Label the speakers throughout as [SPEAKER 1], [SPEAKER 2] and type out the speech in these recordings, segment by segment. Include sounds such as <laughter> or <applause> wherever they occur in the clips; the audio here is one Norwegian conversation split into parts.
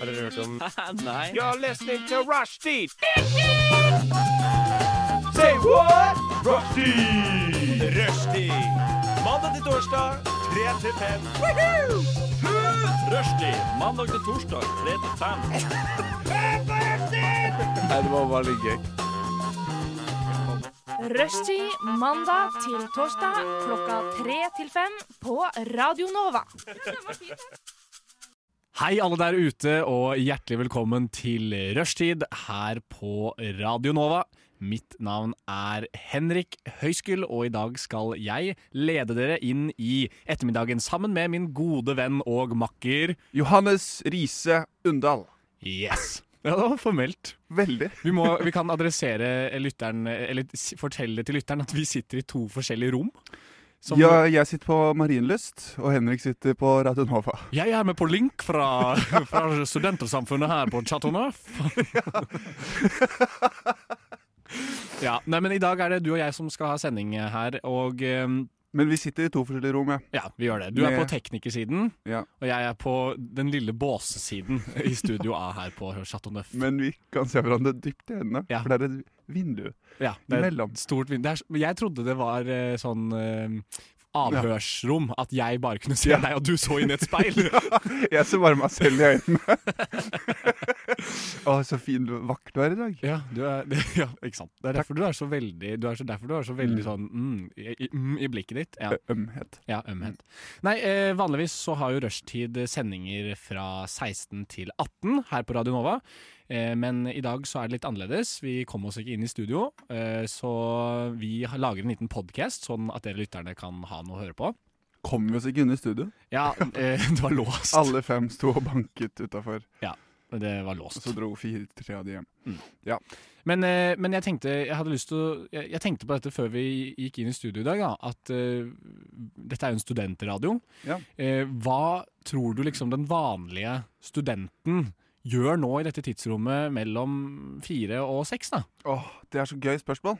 [SPEAKER 1] Har dere hørt om
[SPEAKER 2] Nei.
[SPEAKER 3] You're listening to Rushdie. Say what? Rushdie. Rushdie. Mandag til torsdag, 3 til 5. Rushdie. Mandag til torsdag, 3 til 5.
[SPEAKER 2] Nei, det var bare litt gøy.
[SPEAKER 4] Rushtid mandag til torsdag klokka tre til fem på Radio Nova.
[SPEAKER 1] <laughs> Hei, alle der ute, og hjertelig velkommen til Rushtid her på Radio Nova. Mitt navn er Henrik Høyskull, og i dag skal jeg lede dere inn i ettermiddagen sammen med min gode venn og makker
[SPEAKER 2] Johannes Riise Undal.
[SPEAKER 1] Yes! Ja, det var formelt.
[SPEAKER 2] Veldig.
[SPEAKER 1] Vi, må, vi kan adressere lytteren, eller s- fortelle til lytteren at vi sitter i to forskjellige rom. Som-
[SPEAKER 2] Ja, jeg sitter på Marienlyst, og Henrik sitter på Radio Nova.
[SPEAKER 1] Jeg er med på link fra, fra studentersamfunnet her på Chateau
[SPEAKER 2] <laughs>
[SPEAKER 1] Neuf. Ja, nei, men I dag er det du og jeg som skal ha sending her, og eh,
[SPEAKER 2] Men vi sitter i to forskjellige rom, ja.
[SPEAKER 1] ja, vi gjør det. Du er
[SPEAKER 2] Med-
[SPEAKER 1] på teknikersiden,
[SPEAKER 2] Ja.
[SPEAKER 1] og jeg er på den lille båsesiden i studio A her på Chateau Neuf.
[SPEAKER 2] Men vi kan se hverandre dypt i øynene,
[SPEAKER 1] Ja.
[SPEAKER 2] for det er et vindu
[SPEAKER 1] Ja, det er
[SPEAKER 2] imellom.
[SPEAKER 1] et stort vind. Det er, s- men jeg trodde det var eh, sånn eh, avhørsrom, at jeg bare kunne se
[SPEAKER 2] Ja.
[SPEAKER 1] deg, og du så inn i et speil.
[SPEAKER 2] <laughs> Jeg ser bare meg selv i
[SPEAKER 1] <laughs>
[SPEAKER 2] øynene. Å, så fin du- vakker du er i dag.
[SPEAKER 1] Ja, du er, <laughs> ja, ikke sant. Det er derfor du er så veldig, du er så, derfor du er så veldig
[SPEAKER 2] Mm.
[SPEAKER 1] sånn mm, i, i- mm, i blikket ditt.
[SPEAKER 2] <laughs>
[SPEAKER 1] Ja,
[SPEAKER 2] Ø- Ømhet.
[SPEAKER 1] ja ømhet. Nei, eh, vanligvis så har jo rushtid eh, sendinger fra 16 til 18 her på Radio Nova. Eh, men i dag så er det litt annerledes. Vi kom oss ikke inn i studio, eh, så vi har- lager en liten podkast sånn at dere lytterne kan ha noe å høre på.
[SPEAKER 2] Kom vi oss ikke unna studio?
[SPEAKER 1] Ja,
[SPEAKER 2] <laughs>
[SPEAKER 1] eh, <laughs> det var låst.
[SPEAKER 2] Alle fem sto og banket utafor,
[SPEAKER 1] Det var
[SPEAKER 2] og
[SPEAKER 1] låst.
[SPEAKER 2] så dro fire-tre av de hjem.
[SPEAKER 1] Men, eh, men jeg tenkte jeg hadde lyst til å, jeg, jeg tenkte på dette før vi gikk inn i studio i dag, da, at eh, dette er jo en studentradio.
[SPEAKER 2] Ja.
[SPEAKER 1] Eh, hva tror du liksom den vanlige studenten gjør nå i dette tidsrommet mellom fire og seks? da?
[SPEAKER 2] Åh, det er så gøy spørsmål.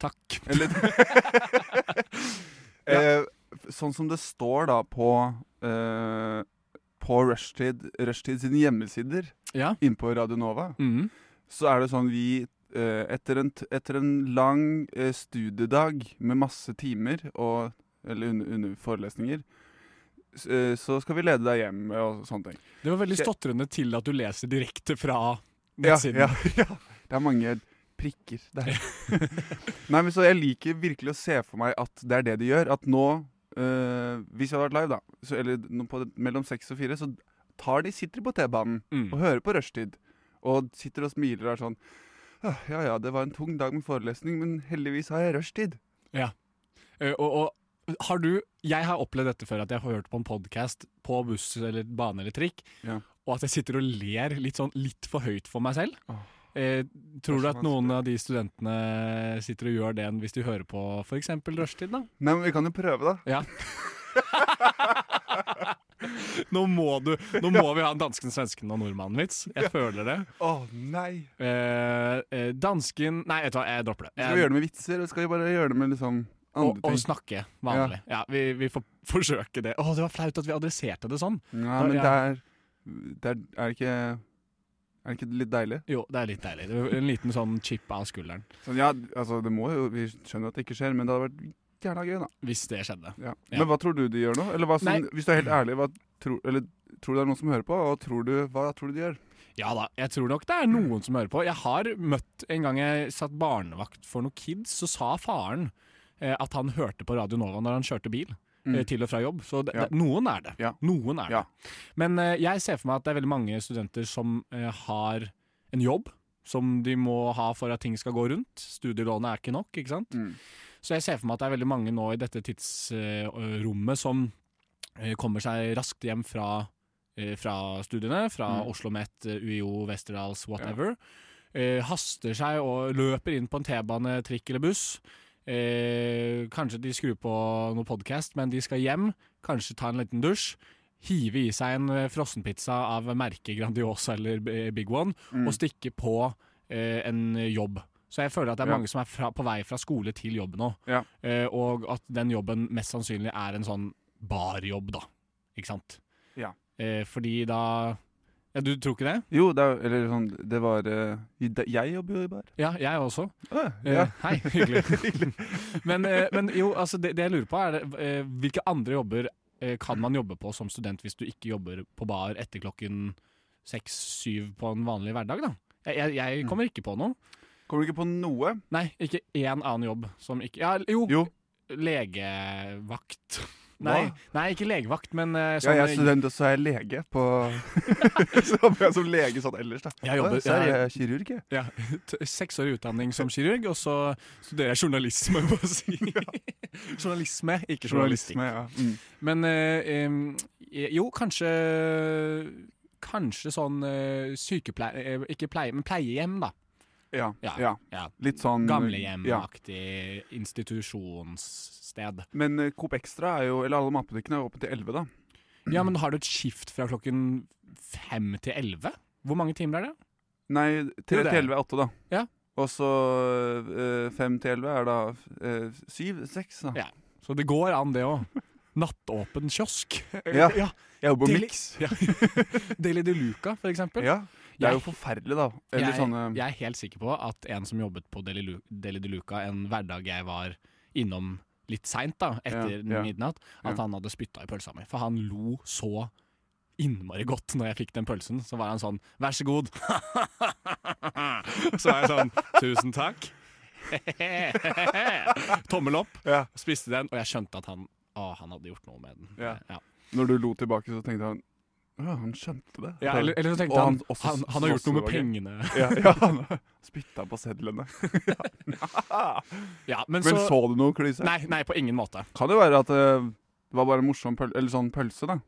[SPEAKER 1] Takk.
[SPEAKER 2] Eller eh, Sånn som det står da på eh, På Rushtid, Rushtid sine hjemmesider
[SPEAKER 1] Ja.
[SPEAKER 2] inne på Radio Nova,
[SPEAKER 1] Mm.
[SPEAKER 2] så er det sånn vi eh, etter, en, t- etter en lang eh, studiedag med masse timer og Eller under, under forelesninger, s- eh, så skal vi lede deg hjem og sånne ting.
[SPEAKER 1] Det var veldig
[SPEAKER 2] Jeg-
[SPEAKER 1] stotrende til at du leser direkte fra
[SPEAKER 2] Ja,
[SPEAKER 1] nettsiden.
[SPEAKER 2] ja, <laughs> ja. Det er mange prikker
[SPEAKER 1] <laughs>
[SPEAKER 2] der. Nei, men så jeg liker virkelig å se for meg at det er det de gjør. At nå, eh, hvis jeg hadde vært live, da, så, eller nå på, mellom seks og fire, så tar de, sitter de på T-banen
[SPEAKER 1] Mm.
[SPEAKER 2] og hører på rushtid. Og sitter og smiler og er sånn «Ah, Ja ja, det var en tung dag med forelesning, men heldigvis har jeg rushtid.
[SPEAKER 1] Eh, og, og har du Jeg har opplevd dette før, at jeg har hørt på en podkast på buss eller bane eller trikk,
[SPEAKER 2] Ja.
[SPEAKER 1] og at jeg sitter og ler litt sånn litt for høyt for meg selv.
[SPEAKER 2] Åh.
[SPEAKER 1] Eh, tror
[SPEAKER 2] Det
[SPEAKER 1] du
[SPEAKER 2] er så
[SPEAKER 1] at noen av de studentene sitter og gjør det hvis de hører på f.eks. rushtid? da?
[SPEAKER 2] Nei, men vi kan jo prøve, da.
[SPEAKER 1] <laughs> Nå må, du, nå må vi ha en dansken, svensken og nordmannen-vits. Jeg føler det.
[SPEAKER 2] Å nei!
[SPEAKER 1] Eh, eh, dansken Nei, vet du hva, jeg dropper det.
[SPEAKER 2] Skal vi gjøre det med vitser, eller skal vi bare gjøre det med liksom
[SPEAKER 1] og,
[SPEAKER 2] andre
[SPEAKER 1] og
[SPEAKER 2] ting?
[SPEAKER 1] snakke vanlig. Ja, vi, vi får forsøke det. Å, det var flaut at vi adresserte det sånn.
[SPEAKER 2] Nei, men det
[SPEAKER 1] ja.
[SPEAKER 2] er, det er Er det ikke Er det ikke litt deilig?
[SPEAKER 1] Jo, det er litt deilig. Det var En liten sånn chip av skulderen.
[SPEAKER 2] Sånn, ja, altså det må jo Vi skjønner jo at det ikke skjer, men det hadde vært jævla gøy, da.
[SPEAKER 1] Hvis det skjedde.
[SPEAKER 2] Ja.
[SPEAKER 1] Ja.
[SPEAKER 2] Men hva tror du de gjør nå? Eller hva som, hvis du er helt ærlig, hva tror, eller, tror du det er noen som hører på? Og tror du, hva tror du de gjør?
[SPEAKER 1] Ja da, jeg tror nok det er noen som hører på. Jeg har møtt en gang jeg satt barnevakt for noen kids, så sa faren eh, at han hørte på Radio Nova når han kjørte bil.
[SPEAKER 2] Mm.
[SPEAKER 1] eh, Til og fra jobb. Så det,
[SPEAKER 2] Ja.
[SPEAKER 1] det, noen er det.
[SPEAKER 2] Ja.
[SPEAKER 1] Noen er
[SPEAKER 2] Ja.
[SPEAKER 1] det. Men eh, jeg ser for meg at det er veldig mange studenter som eh, har en jobb som de må ha for at ting skal gå rundt. Studielånet er ikke nok, ikke sant.
[SPEAKER 2] Mm.
[SPEAKER 1] Så jeg ser for meg at det er veldig mange nå i dette tidsrommet som eh, kommer seg raskt hjem fra, eh, fra studiene, fra
[SPEAKER 2] Mm.
[SPEAKER 1] Oslo OsloMet, eh, UiO, Westerdals, whatever. Eh, haster seg og løper inn på en T-bane, trikk eller buss. Eh, kanskje de skrur på noe podkast, men de skal hjem. Kanskje ta en liten dusj. Hive i seg en eh, frossenpizza av merket Grandiosa eller eh, Big One,
[SPEAKER 2] Mm.
[SPEAKER 1] og stikke på eh, en jobb. Så jeg føler at det er
[SPEAKER 2] Ja.
[SPEAKER 1] mange som er fra, på vei fra skole til jobb nå.
[SPEAKER 2] Ja.
[SPEAKER 1] Eh, og at den jobben mest sannsynlig er en sånn barjobb, da. Ikke sant?
[SPEAKER 2] Ja.
[SPEAKER 1] Eh, fordi da Ja, du tror ikke det?
[SPEAKER 2] Jo, det, er- eller sånn Det var eh, det- Jeg jobber jo i bar.
[SPEAKER 1] Ja, jeg også.
[SPEAKER 2] Å,
[SPEAKER 1] Eh,
[SPEAKER 2] ja.
[SPEAKER 1] <laughs> Hei, hyggelig. men, eh, men jo, altså det, det jeg lurer på er det, eh, hvilke andre jobber eh, kan man jobbe på som student hvis du ikke jobber på bar etter klokken seks-syv på en vanlig hverdag, da? Jeg, jeg, jeg kommer ikke på noe.
[SPEAKER 2] Kommer du ikke på noe?
[SPEAKER 1] Nei, ikke én annen jobb som ikke Ja, jo,
[SPEAKER 2] Jo,
[SPEAKER 1] legevakt. Nei, nei, ikke legevakt, men eh,
[SPEAKER 2] ja,
[SPEAKER 1] sånn
[SPEAKER 2] jeg er student, og så er jeg lege på <laughs> Så jobber jeg som lege sånn ellers, da.
[SPEAKER 1] Jeg jobber-
[SPEAKER 2] Å, så er
[SPEAKER 1] jeg-
[SPEAKER 2] jeg kirurg, jeg.
[SPEAKER 1] Ja, <laughs> t- seksårig utdanning som kirurg, og så studerer jeg journalisme, <laughs> må jeg si. journalisme, ikke journalistikk.
[SPEAKER 2] Journalisme, ja. Mm.
[SPEAKER 1] Men eh, em, eh, jo, kanskje Kanskje sånn eh, sykepleie... eh, Ikke pleie, men pleiehjem, da. Mm,
[SPEAKER 2] Ja,
[SPEAKER 1] Ja.
[SPEAKER 2] ja.
[SPEAKER 1] Ja.
[SPEAKER 2] Litt sånn Ja.
[SPEAKER 1] Gamlehjemaktig institusjonssted.
[SPEAKER 2] Men eh, Coop Extra er jo Eller alle matbutikkene er åpne til 11, da.
[SPEAKER 1] Ja, men har du et skift fra klokken fem til elleve? Hvor mange timer er det?
[SPEAKER 2] Nei,
[SPEAKER 1] Jo,
[SPEAKER 2] 3
[SPEAKER 1] det
[SPEAKER 2] til
[SPEAKER 1] er-
[SPEAKER 2] 11 er 8, da.
[SPEAKER 1] Ja.
[SPEAKER 2] Og så 5 til 11 er da 7? 6, da.
[SPEAKER 1] Ja. Så det går an, det òg. Nattåpen kiosk.
[SPEAKER 2] Ja.
[SPEAKER 1] <laughs> ja.
[SPEAKER 2] Jeg jobber på
[SPEAKER 1] Deli-
[SPEAKER 2] Mix.
[SPEAKER 1] <laughs> Ja. Deli de Luca, for eksempel.
[SPEAKER 2] Ja. Det er jo
[SPEAKER 1] Jeg-
[SPEAKER 2] forferdelig, da. Eller
[SPEAKER 1] jeg,
[SPEAKER 2] sånne
[SPEAKER 1] jeg er helt sikker på at en som jobbet på Deli, Lu Deli de Luca en hverdag jeg var innom litt seint, da, etter
[SPEAKER 2] Ja, ja.
[SPEAKER 1] midnatt, at
[SPEAKER 2] Ja.
[SPEAKER 1] han hadde spytta i pølsa mi. For han lo så innmari godt når jeg fikk den pølsen. Så var han sånn 'vær så god'. <laughs> så var jeg sånn 'tusen takk'. <laughs> Tommel opp.
[SPEAKER 2] Ja.
[SPEAKER 1] Spiste den, og jeg skjønte at han Å, han hadde gjort noe med den.
[SPEAKER 2] Ja.
[SPEAKER 1] Ja.
[SPEAKER 2] Når du lo tilbake, så tenkte han Ja, han skjønte det.
[SPEAKER 1] Ja, eller, eller så tenkte
[SPEAKER 2] Og
[SPEAKER 1] han
[SPEAKER 2] også
[SPEAKER 1] han, han har gjort
[SPEAKER 2] slåss
[SPEAKER 1] noe med
[SPEAKER 2] tilbake.
[SPEAKER 1] pengene.
[SPEAKER 2] Ja, ja han <laughs> spytta på
[SPEAKER 1] <laughs>
[SPEAKER 2] sedlene. <laughs>
[SPEAKER 1] Ja, men
[SPEAKER 2] Men
[SPEAKER 1] så,
[SPEAKER 2] så du noe klyse?
[SPEAKER 1] Nei, nei, på ingen måte.
[SPEAKER 2] Kan det være at eh, det var bare en morsom pøl eller sånn pølse, da?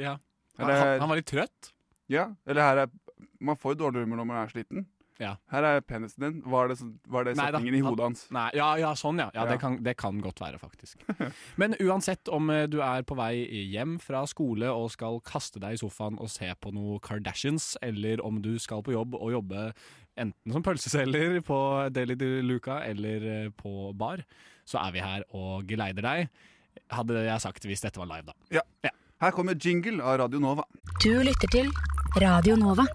[SPEAKER 1] Ja. Han,
[SPEAKER 2] Eller,
[SPEAKER 1] han, han var litt trøtt.
[SPEAKER 2] ja, eller her er Man får jo dårlig humør når man er sliten.
[SPEAKER 1] Ja.
[SPEAKER 2] Her er penisen din. Var det, sånn- var det
[SPEAKER 1] Nei da,
[SPEAKER 2] setningen i
[SPEAKER 1] han-
[SPEAKER 2] hodet hans?
[SPEAKER 1] Nei, ja, ja sånn, ja. ja,
[SPEAKER 2] Ja.
[SPEAKER 1] Det, kan, det kan godt være, <laughs> faktisk. Men uansett om eh, du er på vei hjem fra skole og skal kaste deg i sofaen og se på noe Kardashians, eller om du skal på jobb og jobbe enten som pølseselger på Deli de Luca eller eh, på bar, så er vi her og geleider deg. Hadde jeg sagt hvis dette var live, da.
[SPEAKER 2] Her kommer jingle av Radio Nova.
[SPEAKER 5] Du lytter til Radio Nova.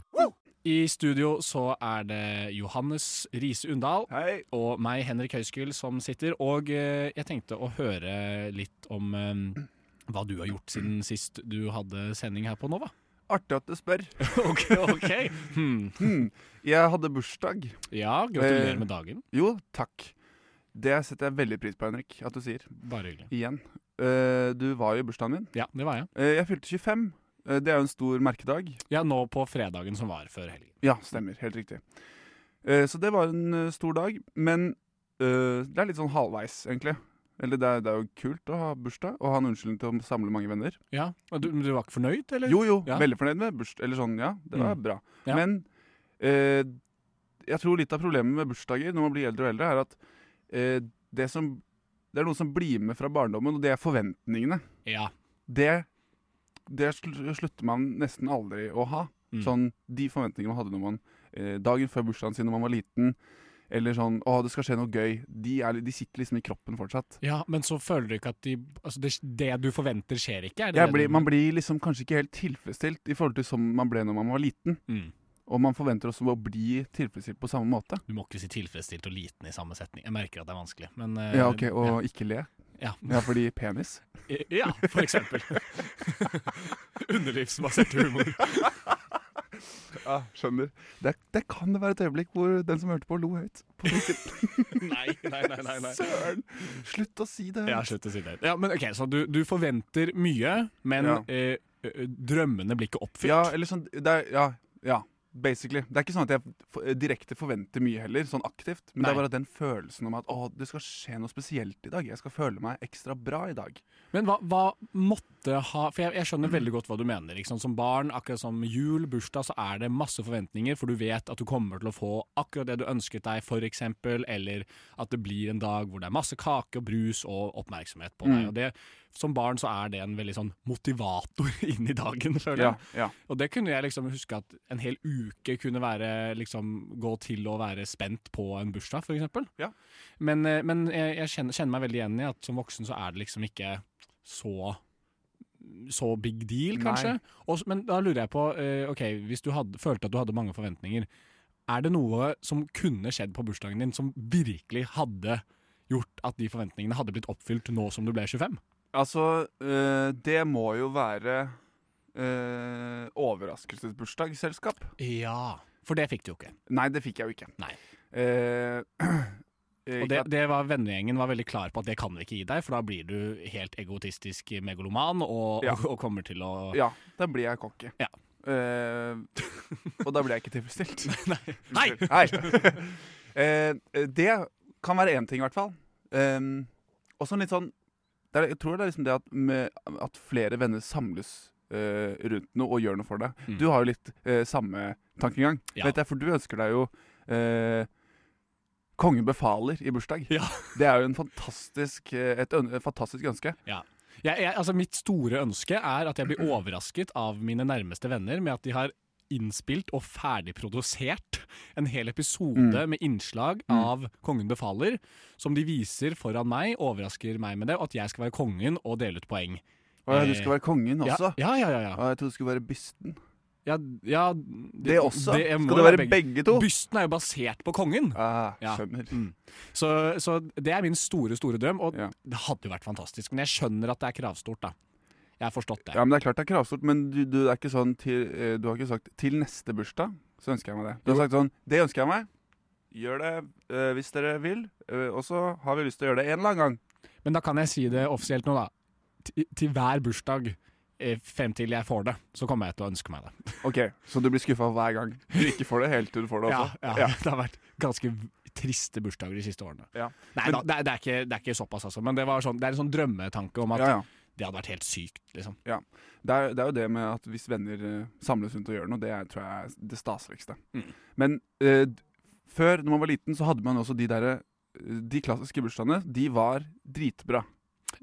[SPEAKER 1] I studio så er det Johannes Riise Undal.
[SPEAKER 2] Hei.
[SPEAKER 1] og meg, Henrik Høyskull, som sitter. Og eh, jeg tenkte å høre litt om eh, hva du har gjort siden sist du hadde sending her på Nova.
[SPEAKER 2] Artig at du spør.
[SPEAKER 1] <laughs>
[SPEAKER 2] <laughs>
[SPEAKER 1] ok, ok. Hmm.
[SPEAKER 2] Hmm. Jeg hadde bursdag.
[SPEAKER 1] Ja, gratulerer med dagen.
[SPEAKER 2] Jo, takk. Det setter jeg veldig pris på, Henrik, at du sier.
[SPEAKER 1] Bare hyggelig.
[SPEAKER 2] Igjen. Eh, du var jo i bursdagen min.
[SPEAKER 1] Ja, det var jeg.
[SPEAKER 2] Eh, jeg fylte 25. Eh, det er jo en stor merkedag.
[SPEAKER 1] Ja, nå på fredagen som var før helgen.
[SPEAKER 2] Ja, stemmer. Helt riktig. Eh, så det var en eh, stor dag, men eh, det er litt sånn halvveis, egentlig. Eller det er, det er jo kult å ha bursdag og ha en unnskyldning til å samle mange venner.
[SPEAKER 1] Ja, og du, men du var ikke fornøyd, eller?
[SPEAKER 2] Jo, jo,
[SPEAKER 1] Ja.
[SPEAKER 2] veldig fornøyd med bursdag. Eller sånn, ja, det var
[SPEAKER 1] Mm.
[SPEAKER 2] bra.
[SPEAKER 1] Ja.
[SPEAKER 2] Men eh, jeg tror litt av problemet med bursdager når man blir eldre og eldre, er at eh, det, som, det er noe som blir med fra barndommen, og det er forventningene.
[SPEAKER 1] Ja.
[SPEAKER 2] Det, det sl- slutter man nesten aldri å ha.
[SPEAKER 1] Mm.
[SPEAKER 2] Sånn, De forventningene man hadde når man, eh, dagen før bursdagen sin når man var liten, eller sånn 'Å, det skal skje noe gøy', de, er, li- de sitter liksom i kroppen fortsatt.
[SPEAKER 1] Ja, men så føler du ikke at de, altså det, det du forventer skjer ikke? Er det
[SPEAKER 2] Jeg
[SPEAKER 1] det
[SPEAKER 2] blir,
[SPEAKER 1] du-
[SPEAKER 2] man blir liksom kanskje ikke helt tilfredsstilt i forhold til som man ble når man var liten.
[SPEAKER 1] Mm.
[SPEAKER 2] Og man forventer også å bli tilfredsstilt på samme måte.
[SPEAKER 1] Du må ikke si tilfredsstilt og liten i samme setning. Jeg merker at det er vanskelig, men eh,
[SPEAKER 2] Ja, ok, Og ikke le.
[SPEAKER 1] ja.
[SPEAKER 2] Ja, fordi penis.
[SPEAKER 1] Ja, for eksempel. <laughs> Underlivsbasert humor.
[SPEAKER 2] <laughs> Ja, skjønner. Det, det kan være et øyeblikk hvor den som hørte på, lo høyt. På
[SPEAKER 1] <laughs>
[SPEAKER 2] hvilket-
[SPEAKER 1] Nei, nei, nei. nei, nei.
[SPEAKER 2] Søren! Slutt å si det.
[SPEAKER 1] Ja, slutt å si det. Ja, men ok, Så du, du forventer mye, men
[SPEAKER 2] Ja.
[SPEAKER 1] eh, ø- ø, drømmene blir ikke oppfylt?
[SPEAKER 2] Ja, eller sånn det er, ja, ja, basically. Det er ikke sånn at jeg f- direkte forventer mye heller, sånn aktivt. Men det
[SPEAKER 1] Nei.
[SPEAKER 2] er bare den følelsen om at å, det skal skje noe spesielt i dag. Jeg skal føle meg ekstra bra i dag.
[SPEAKER 1] Men hva, hva måtte ha For jeg, jeg skjønner veldig godt hva du mener. Ikke sant? Som barn, akkurat som jul, bursdag, så er det masse forventninger, for du vet at du kommer til å få akkurat det du ønsket deg, for eksempel, eller at det blir en dag hvor det er masse kake og brus og oppmerksomhet på deg.
[SPEAKER 2] Mm.
[SPEAKER 1] Og det, som barn så er det en veldig sånn motivator <laughs> inn i dagen, føler jeg.
[SPEAKER 2] Ja, ja.
[SPEAKER 1] Og det kunne jeg liksom huske at en hel uke kunne være, liksom, gå til å være spent på en bursdag, for eksempel.
[SPEAKER 2] Ja.
[SPEAKER 1] Men, eh, men jeg, jeg kjenner, kjenner meg veldig igjen i at som voksen så er det liksom ikke så så big deal,
[SPEAKER 2] Nei.
[SPEAKER 1] kanskje. Og s- men da lurer jeg på, eh, ok, hvis du hadde, følte at du hadde mange forventninger, er det noe som kunne skjedd på bursdagen din som virkelig hadde gjort at de forventningene hadde blitt oppfylt nå som du ble 25?
[SPEAKER 2] Altså, eh, det må jo være eh, overraskelsesbursdagsselskap.
[SPEAKER 1] Ja. For det fikk du jo ikke.
[SPEAKER 2] Nei, det fikk jeg jo ikke.
[SPEAKER 1] Nei.
[SPEAKER 2] Eh, <clears throat>
[SPEAKER 1] Og det, det var Vennegjengen var veldig klar på at det kan vi ikke gi deg, for da blir du helt egotistisk megaloman og,
[SPEAKER 2] Ja.
[SPEAKER 1] og, og kommer til å
[SPEAKER 2] Ja, da blir jeg cocky.
[SPEAKER 1] Ja.
[SPEAKER 2] Eh, og da blir jeg ikke
[SPEAKER 1] <laughs>
[SPEAKER 2] tilfredsstilt.
[SPEAKER 1] Hei!
[SPEAKER 2] Unnskyld. <laughs> Eh, det kan være én ting, i hvert fall. Um, og sånn litt sånn det er, Jeg tror det er liksom det at, med, at flere venner samles eh, rundt noe og gjør noe for deg.
[SPEAKER 1] Mm.
[SPEAKER 2] Du har jo litt eh, samme tankegang,
[SPEAKER 1] Ja.
[SPEAKER 2] vet jeg, for du ønsker deg jo eh, Kongen befaler i bursdag.
[SPEAKER 1] Ja.
[SPEAKER 2] Det er jo en fantastisk, eh, et, øn- et fantastisk ønske.
[SPEAKER 1] Jeg, jeg, altså mitt store ønske er at jeg blir overrasket av mine nærmeste venner med at de har innspilt og ferdigprodusert en hel episode
[SPEAKER 2] Mm.
[SPEAKER 1] med innslag av Kongen befaler, som de viser foran meg, overrasker meg med det, og at jeg skal være kongen og dele ut poeng.
[SPEAKER 2] Og ja, du
[SPEAKER 1] Eh,
[SPEAKER 2] skal være kongen
[SPEAKER 1] Ja,
[SPEAKER 2] også.
[SPEAKER 1] ja, ja. ja, ja.
[SPEAKER 2] Og jeg tror du skulle være bysten.
[SPEAKER 1] ja, ja
[SPEAKER 2] Det også?
[SPEAKER 1] jeg må
[SPEAKER 2] skal det være
[SPEAKER 1] være
[SPEAKER 2] begge, to?
[SPEAKER 1] Bysten er jo basert på kongen.
[SPEAKER 2] Ah,
[SPEAKER 1] Ja.
[SPEAKER 2] Skjønner.
[SPEAKER 1] Så, så det er min store, store drøm, og
[SPEAKER 2] Ja.
[SPEAKER 1] det hadde jo vært fantastisk. Men jeg skjønner at det er kravstort, da. Jeg har forstått det.
[SPEAKER 2] Ja, men Det er klart det er kravstort, men du, du, er ikke sånn til, eh, du har ikke sagt 'til neste bursdag', så ønsker jeg meg det. Du har sagt sånn 'det ønsker jeg meg'. Gjør det eh, hvis dere vil, eh, og så har vi lyst til å gjøre det en eller annen gang.
[SPEAKER 1] Men da kan jeg si det offisielt nå, da. Til, til hver bursdag eh, frem til jeg får det, så kommer jeg til å ønske meg det.
[SPEAKER 2] Ok, Så du blir skuffa hver gang du ikke får det, helt til du får det
[SPEAKER 1] Ja,
[SPEAKER 2] også?
[SPEAKER 1] ja, <laughs> Det har vært ganske v- triste bursdager de siste årene.
[SPEAKER 2] Ja.
[SPEAKER 1] Nei da, det, er- det, er ikke, det er ikke såpass, altså. Men det, var sånn, det er en sånn drømmetanke om at
[SPEAKER 2] ja, ja.
[SPEAKER 1] det hadde vært helt sykt, liksom.
[SPEAKER 2] Det, er, det er jo det med at hvis venner eh, samles rundt og gjør noe, det er, tror jeg er det staseligste.
[SPEAKER 1] Mm.
[SPEAKER 2] Men eh, d- før, når man var liten, så hadde man også de derre eh, De klassiske bursdagene. De var dritbra.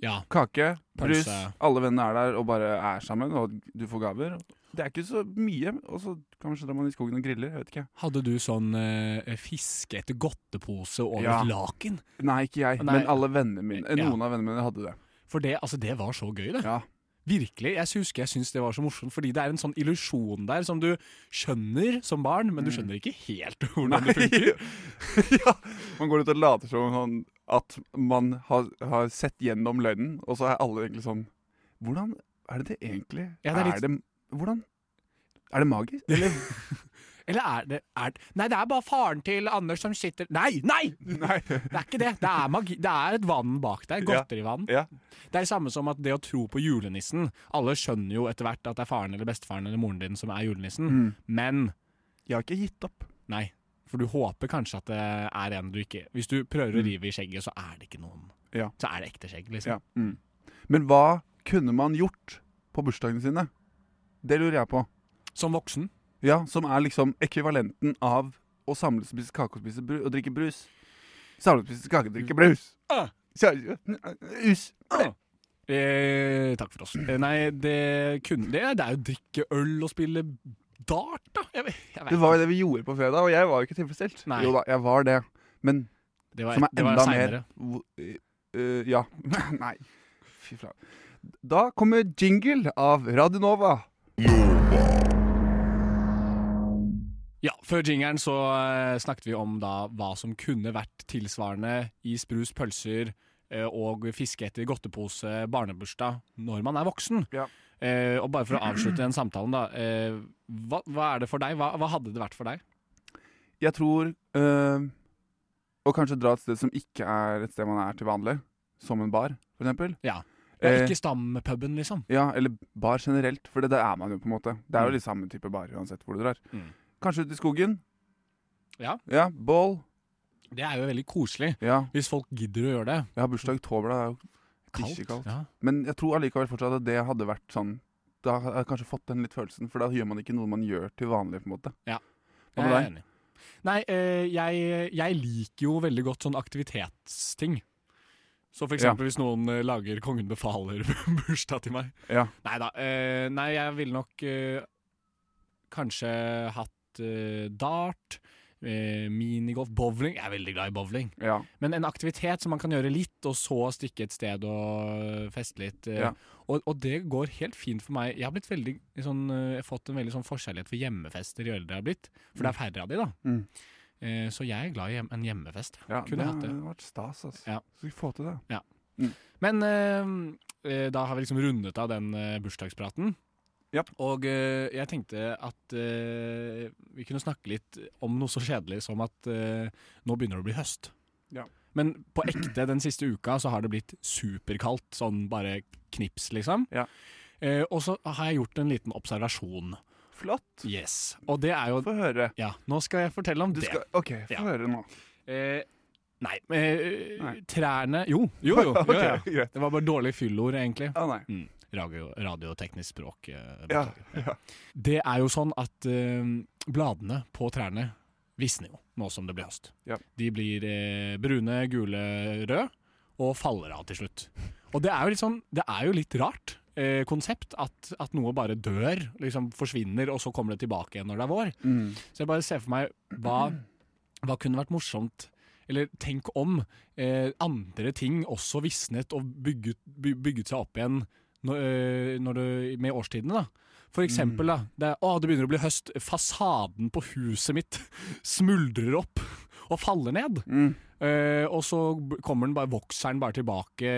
[SPEAKER 1] Ja.
[SPEAKER 2] Kake,
[SPEAKER 1] Pølse.
[SPEAKER 2] brus, alle vennene er der og bare er sammen, og du får gaver. Det er ikke så mye, og så kanskje drar man i skogen og griller, jeg vet ikke.
[SPEAKER 1] Hadde du sånn eh, fiske etter godtepose over
[SPEAKER 2] Ja.
[SPEAKER 1] et laken?
[SPEAKER 2] Nei, ikke jeg,
[SPEAKER 1] Nei.
[SPEAKER 2] men alle vennene mine, eh,
[SPEAKER 1] Ja.
[SPEAKER 2] noen av vennene mine hadde det.
[SPEAKER 1] For det, altså, det var så gøy, det.
[SPEAKER 2] Ja,
[SPEAKER 1] Virkelig. Jeg husker jeg syntes det var så morsomt, fordi det er en sånn illusjon der som du skjønner som barn, men
[SPEAKER 2] Mm.
[SPEAKER 1] du skjønner ikke helt <laughs> hvordan det funker.
[SPEAKER 2] ja. Man går ut og later som sånn at man har, har sett gjennom løgnen, og så er alle egentlig sånn Hvordan er det det egentlig
[SPEAKER 1] Ja, det er
[SPEAKER 2] er,
[SPEAKER 1] litt-
[SPEAKER 2] det Hvordan Er det magisk? Eller
[SPEAKER 1] Eller er det er, det- Nei, det er bare faren til Anders som sitter Nei! Nei!
[SPEAKER 2] Nei.
[SPEAKER 1] Det er ikke det. Det er, magi, det er et vann bak der.
[SPEAKER 2] Ja.
[SPEAKER 1] Godterivann.
[SPEAKER 2] Ja.
[SPEAKER 1] Det er det samme som at det å tro på julenissen Alle skjønner jo etter hvert at det er faren eller bestefaren eller moren din som er julenissen,
[SPEAKER 2] Mm.
[SPEAKER 1] men
[SPEAKER 2] Jeg har ikke gitt opp.
[SPEAKER 1] nei. For du håper kanskje at det er en du ikke Hvis du prøver å
[SPEAKER 2] Mm.
[SPEAKER 1] rive i skjegget, så er det ikke noen.
[SPEAKER 2] Ja.
[SPEAKER 1] Så er det ekte skjegg, liksom.
[SPEAKER 2] Ja. Mm. Men hva kunne man gjort på bursdagene sine? Det lurer jeg på.
[SPEAKER 1] Som voksen.
[SPEAKER 2] Ja, Som er liksom ekvivalenten av å samles og spise kake og spise bru og drikke brus. Samles og spise kake og drikke brus.
[SPEAKER 1] Ah.
[SPEAKER 2] Kjære- Us.
[SPEAKER 1] Eh, takk for oss.
[SPEAKER 2] Mm.
[SPEAKER 1] Eh, nei, det kunne det. Det er jo å drikke øl og spille dart, da. Jeg, vet- jeg vet
[SPEAKER 2] Det var jo det vi gjorde på fredag, og jeg var jo ikke tilfredsstilt.
[SPEAKER 1] Nei.
[SPEAKER 2] Jo da, jeg var det. Men
[SPEAKER 1] ikke. det var,
[SPEAKER 2] som er
[SPEAKER 1] det var
[SPEAKER 2] enda mer
[SPEAKER 1] senere.
[SPEAKER 2] hvor- eh, eh, Ja. <laughs> Nei. Fy flate. Da kommer jingle av Radionova.
[SPEAKER 1] Ja, Før jingeren så eh, snakket vi om da hva som kunne vært tilsvarende i sprus, pølser eh, og fiske etter godtepose, barnebursdag, når man er voksen.
[SPEAKER 2] Ja.
[SPEAKER 1] Eh, og bare for å avslutte den samtalen, da. Eh, hva, hva er det for deg? Hva, hva hadde det vært for deg?
[SPEAKER 2] Jeg tror øh, Å kanskje dra et sted som ikke er et sted man er til vanlig. Som en bar, for eksempel.
[SPEAKER 1] Ja.
[SPEAKER 2] Eh,
[SPEAKER 1] Ikke stampuben, liksom.
[SPEAKER 2] ja, eller bar generelt, for det der er man jo på en måte. Det er
[SPEAKER 1] Mm.
[SPEAKER 2] jo de samme type barer uansett hvor du drar.
[SPEAKER 1] Mm.
[SPEAKER 2] Kanskje ut i skogen.
[SPEAKER 1] Ja.
[SPEAKER 2] Ja, Bål.
[SPEAKER 1] Det er jo veldig koselig.
[SPEAKER 2] Ja,
[SPEAKER 1] Hvis folk gidder å gjøre det.
[SPEAKER 2] jeg har bursdag i oktober, da. er jo-
[SPEAKER 1] Kaldt.
[SPEAKER 2] Bikkjekaldt.
[SPEAKER 1] Ja.
[SPEAKER 2] Men jeg tror allikevel fortsatt at det hadde vært sånn Da har jeg kanskje fått den litt følelsen, for da gjør man ikke noe man gjør til vanlig, på en måte.
[SPEAKER 1] Ja.
[SPEAKER 2] Hva med
[SPEAKER 1] Jeg er
[SPEAKER 2] deg?
[SPEAKER 1] enig. Nei, eh, jeg, jeg liker jo veldig godt sånn aktivitetsting. Så for
[SPEAKER 2] Ja.
[SPEAKER 1] eksempel hvis noen eh, lager Kongen befaler <laughs> bursdag til meg.
[SPEAKER 2] Ja.
[SPEAKER 1] Neida, eh, nei, jeg ville nok eh, kanskje hatt eh, dart. eh, minigolf, bowling. Jeg er veldig glad i bowling.
[SPEAKER 2] Ja.
[SPEAKER 1] Men en aktivitet som man kan gjøre litt, og så stikke et sted og feste litt. eh.
[SPEAKER 2] Ja.
[SPEAKER 1] Og, og det går helt fint for meg. Jeg har, blitt veldig, sånn, eh, jeg har fått en veldig sånn forskjellighet for hjemmefester i eldre jeg har blitt. For det er færre av de, da.
[SPEAKER 2] Mm.
[SPEAKER 1] Eh, Så jeg er glad i hjem- en hjemmefest.
[SPEAKER 2] ja
[SPEAKER 1] Kunne hatt
[SPEAKER 2] det
[SPEAKER 1] det.
[SPEAKER 2] hadde vært stas, altså.
[SPEAKER 1] Ja.
[SPEAKER 2] Skal vi få til det?
[SPEAKER 1] Men eh, eh, da har vi liksom rundet av den eh, bursdagspraten.
[SPEAKER 2] Ja.
[SPEAKER 1] Og eh, jeg tenkte at eh, vi kunne snakke litt om noe så kjedelig som at eh, nå begynner det å bli høst.
[SPEAKER 2] Ja.
[SPEAKER 1] Men på ekte den siste uka så har det blitt superkaldt, sånn bare knips, liksom.
[SPEAKER 2] Ja.
[SPEAKER 1] Eh, og så har jeg gjort en liten observasjon.
[SPEAKER 2] Flott!
[SPEAKER 1] Yes. Og det er jo
[SPEAKER 2] Få høre.
[SPEAKER 1] Ja, nå skal jeg fortelle om
[SPEAKER 2] Du
[SPEAKER 1] det.
[SPEAKER 2] skal, OK, få
[SPEAKER 1] Ja.
[SPEAKER 2] høre nå.
[SPEAKER 1] Eh, nei, eh,
[SPEAKER 2] Nei.
[SPEAKER 1] Trærne Jo, jo, jo. jo,
[SPEAKER 2] <laughs> <laughs> Ok,
[SPEAKER 1] ja.
[SPEAKER 2] Greit.
[SPEAKER 1] Det var bare dårlig fyllord, egentlig.
[SPEAKER 2] Å nei.
[SPEAKER 1] radio, radioteknisk språk. eh,
[SPEAKER 2] Ja,
[SPEAKER 1] beklager. Det er jo sånn at eh, bladene på trærne visner jo nå som det blir høst.
[SPEAKER 2] Ja.
[SPEAKER 1] De blir eh, brune, gule, røde og faller av til slutt. Og det er jo litt, sånn, det er jo litt rart eh, konsept at, at noe bare dør, liksom forsvinner, og så kommer det tilbake igjen når det er vår.
[SPEAKER 2] Mm.
[SPEAKER 1] Så jeg bare ser for meg hva, hva kunne vært morsomt eller tenk om eh, andre ting også visnet og bygget, by- bygget seg opp igjen når, eh, når det, med årstidene. da. For eksempel, da, det, er, å, det begynner å bli høst. Fasaden på huset mitt smuldrer opp og faller ned.
[SPEAKER 2] Mm.
[SPEAKER 1] Eh, og så b- kommer den bare, vokser den bare tilbake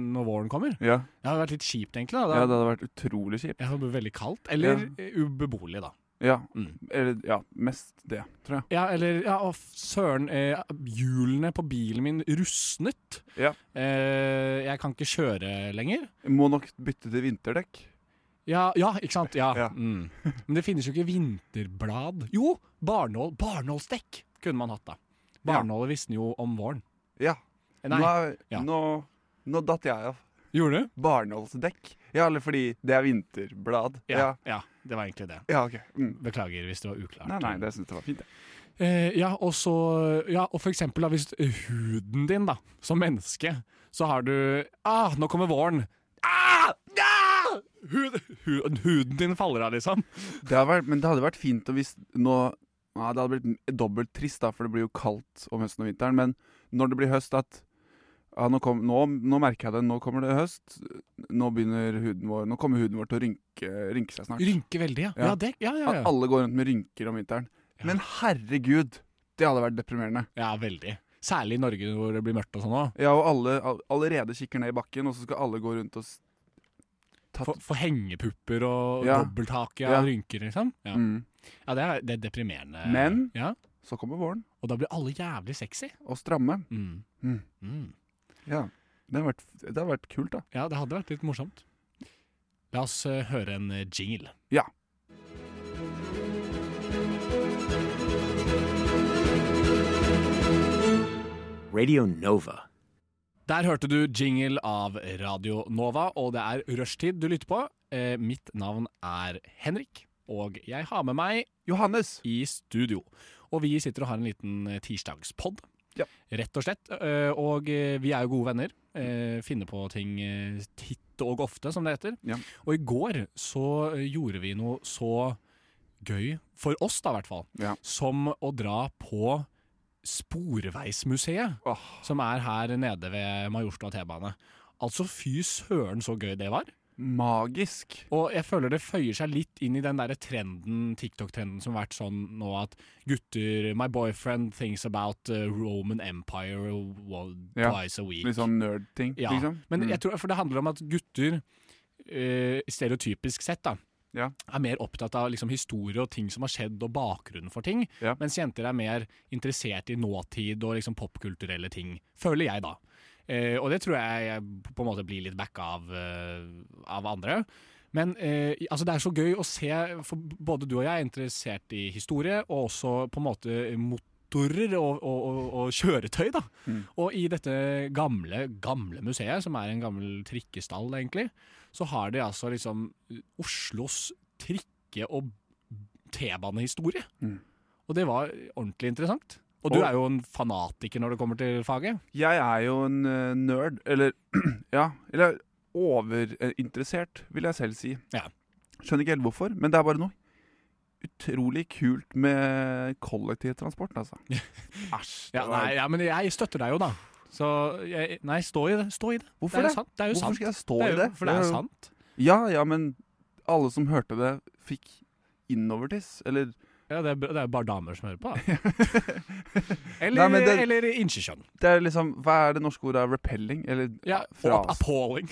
[SPEAKER 1] når våren kommer.
[SPEAKER 2] Ja.
[SPEAKER 1] Det hadde vært litt kjipt, egentlig. da.
[SPEAKER 2] ja, det
[SPEAKER 1] da.
[SPEAKER 2] hadde vært utrolig kjipt.
[SPEAKER 1] Jeg hadde blitt veldig kaldt. Eller eh, ubeboelig, da.
[SPEAKER 2] Ja.
[SPEAKER 1] Mm.
[SPEAKER 2] Eller ja, mest det, tror jeg.
[SPEAKER 1] Ja, eller ja, å, f- søren, eh, hjulene på bilen min rustnet.
[SPEAKER 2] Ja.
[SPEAKER 1] Eh, jeg kan ikke kjøre lenger.
[SPEAKER 2] Jeg Må nok bytte til vinterdekk.
[SPEAKER 1] Ja, ja ikke sant? Ja.
[SPEAKER 2] Ja.
[SPEAKER 1] Mm. Men det finnes jo ikke vinterblad. Jo, barnål, barnålsdekk kunne man hatt da.
[SPEAKER 2] Ja.
[SPEAKER 1] Barnålet visste jo om våren.
[SPEAKER 2] Ja.
[SPEAKER 1] Eh,
[SPEAKER 2] Nå,
[SPEAKER 1] Nei,
[SPEAKER 2] er-
[SPEAKER 1] Ja.
[SPEAKER 2] nå, nå datt jeg av.
[SPEAKER 1] gjorde du?
[SPEAKER 2] Barnålsdekk. Ja, eller fordi det er vinterblad.
[SPEAKER 1] Ja, ja. det var egentlig det.
[SPEAKER 2] Ja, ok. Mm.
[SPEAKER 1] Beklager hvis det var uklart.
[SPEAKER 2] Nei, nei, det syns jeg var fint. jeg.
[SPEAKER 1] Eh, ja, og så Ja, og for eksempel da, hvis huden din, da, som menneske, så har du Ah, nå kommer våren! Ah! Ah! Hud, hu, huden din faller av, liksom.
[SPEAKER 2] Det hadde vært, men det hadde vært fint å hvis nå ja, Det hadde blitt dobbelt trist, da, for det blir jo kaldt om høsten og vinteren. Men når det blir høst, at ja, nå, kom, nå, nå merker jeg det. Nå kommer det høst. Nå begynner huden vår Nå kommer huden vår til å rynke, rynke seg snart.
[SPEAKER 1] Rynker veldig, ja. Ja,
[SPEAKER 2] Ja.
[SPEAKER 1] det, ja, ja,
[SPEAKER 2] At
[SPEAKER 1] ja.
[SPEAKER 2] alle går rundt med rynker om vinteren.
[SPEAKER 1] Ja.
[SPEAKER 2] Men herregud, det hadde vært deprimerende.
[SPEAKER 1] ja veldig. Særlig i Norge hvor det blir mørkt og sånn òg.
[SPEAKER 2] Ja, og alle all, allerede kikker ned i bakken, og så skal alle gå rundt og s- tatt,
[SPEAKER 1] Få få hengepupper og
[SPEAKER 2] Ja.
[SPEAKER 1] dobbelthake
[SPEAKER 2] Ja.
[SPEAKER 1] og rynker, liksom. Ja,
[SPEAKER 2] mm.
[SPEAKER 1] ja det, er, det er deprimerende.
[SPEAKER 2] Men-
[SPEAKER 1] Ja,
[SPEAKER 2] Så kommer våren,
[SPEAKER 1] Og da blir alle jævlig sexy.
[SPEAKER 2] og stramme.
[SPEAKER 1] Mm.
[SPEAKER 2] Mm.
[SPEAKER 1] Mm.
[SPEAKER 2] Ja. Det hadde vært, det hadde vært kult, da.
[SPEAKER 1] Ja, det hadde vært litt morsomt. La oss eh, høre en eh, jingle.
[SPEAKER 2] Ja.
[SPEAKER 6] Radio Nova.
[SPEAKER 1] Der hørte du jingle av Radio Nova, og det er rushtid du lytter på. Eh, mitt navn er Henrik, og jeg har med meg
[SPEAKER 2] Johannes!
[SPEAKER 1] i studio. Og vi sitter og har en liten eh, tirsdagspodd,
[SPEAKER 2] Ja.
[SPEAKER 1] rett og slett. Eh, Og eh, vi er jo gode venner. eh, Finner på ting eh, titt og ofte, som det heter.
[SPEAKER 2] Ja.
[SPEAKER 1] Og i går så eh, gjorde vi noe så gøy, for oss da i hvert fall,
[SPEAKER 2] Ja.
[SPEAKER 1] som å dra på Sporveismuseet,
[SPEAKER 2] Åh.
[SPEAKER 1] som er her nede ved Majorstua T-bane. Altså, fy søren så gøy det var.
[SPEAKER 2] Magisk.
[SPEAKER 1] Og jeg føler det føyer seg litt inn i den der trenden, TikTok-trenden som har vært sånn nå at gutter My boyfriend thinks about uh, Roman Empire wo-
[SPEAKER 2] Ja,
[SPEAKER 1] twice a week.
[SPEAKER 2] Litt sånn nerd-ting,
[SPEAKER 1] Ja,
[SPEAKER 2] liksom.
[SPEAKER 1] Men
[SPEAKER 2] Mm.
[SPEAKER 1] jeg tror, for det handler om at gutter, eh, stereotypisk sett, da,
[SPEAKER 2] Ja.
[SPEAKER 1] er mer opptatt av liksom, historie og ting som har skjedd, og bakgrunnen for ting.
[SPEAKER 2] Ja.
[SPEAKER 1] Mens jenter er mer interessert i nåtid og liksom, popkulturelle ting, føler jeg, da. Eh, og det tror jeg jeg på en måte blir litt backa av, eh, av andre. Men eh, altså det er så gøy å se, for både du og jeg er interessert i historie, og også på en måte motorer og, og, og, og kjøretøy, da.
[SPEAKER 2] Mm.
[SPEAKER 1] Og i dette gamle, gamle museet, som er en gammel trikkestall egentlig, så har de altså liksom Oslos trikke- og T-banehistorie.
[SPEAKER 2] Mm.
[SPEAKER 1] Og det var ordentlig interessant. Og du
[SPEAKER 2] Og-
[SPEAKER 1] er jo en fanatiker når det kommer til faget.
[SPEAKER 2] Jeg er jo en eh, nerd, eller <clears throat> ja, eller overinteressert, vil jeg selv si.
[SPEAKER 1] Ja.
[SPEAKER 2] Skjønner ikke helt hvorfor, men det er bare noe utrolig kult med kollektivtransport, altså. Æsj.
[SPEAKER 1] <laughs>
[SPEAKER 2] det
[SPEAKER 1] Ja,
[SPEAKER 2] var-
[SPEAKER 1] nei, ja, men jeg støtter deg jo, da. Så jeg, nei, stå i det. Stå i det.
[SPEAKER 2] Hvorfor
[SPEAKER 1] det? Er
[SPEAKER 2] det?
[SPEAKER 1] jo sant. det er jo
[SPEAKER 2] Hvorfor
[SPEAKER 1] sant.
[SPEAKER 2] skal jeg stå
[SPEAKER 1] det
[SPEAKER 2] i
[SPEAKER 1] er jo,
[SPEAKER 2] det?
[SPEAKER 1] For det
[SPEAKER 2] er
[SPEAKER 1] er
[SPEAKER 2] jo-
[SPEAKER 1] sant.
[SPEAKER 2] Ja, ja, men alle som hørte det, fikk innovertiss. Eller
[SPEAKER 1] Ja, det, er, b- det er bare damer som hører
[SPEAKER 2] <laughs>
[SPEAKER 1] på. Da.
[SPEAKER 2] Nei,
[SPEAKER 1] Eller,
[SPEAKER 2] men det-
[SPEAKER 1] eller inkjekjønn.
[SPEAKER 2] det er liksom Hva er det norske ordet? Repelling? Eller
[SPEAKER 1] Ja,
[SPEAKER 2] Fra-
[SPEAKER 1] og appalling.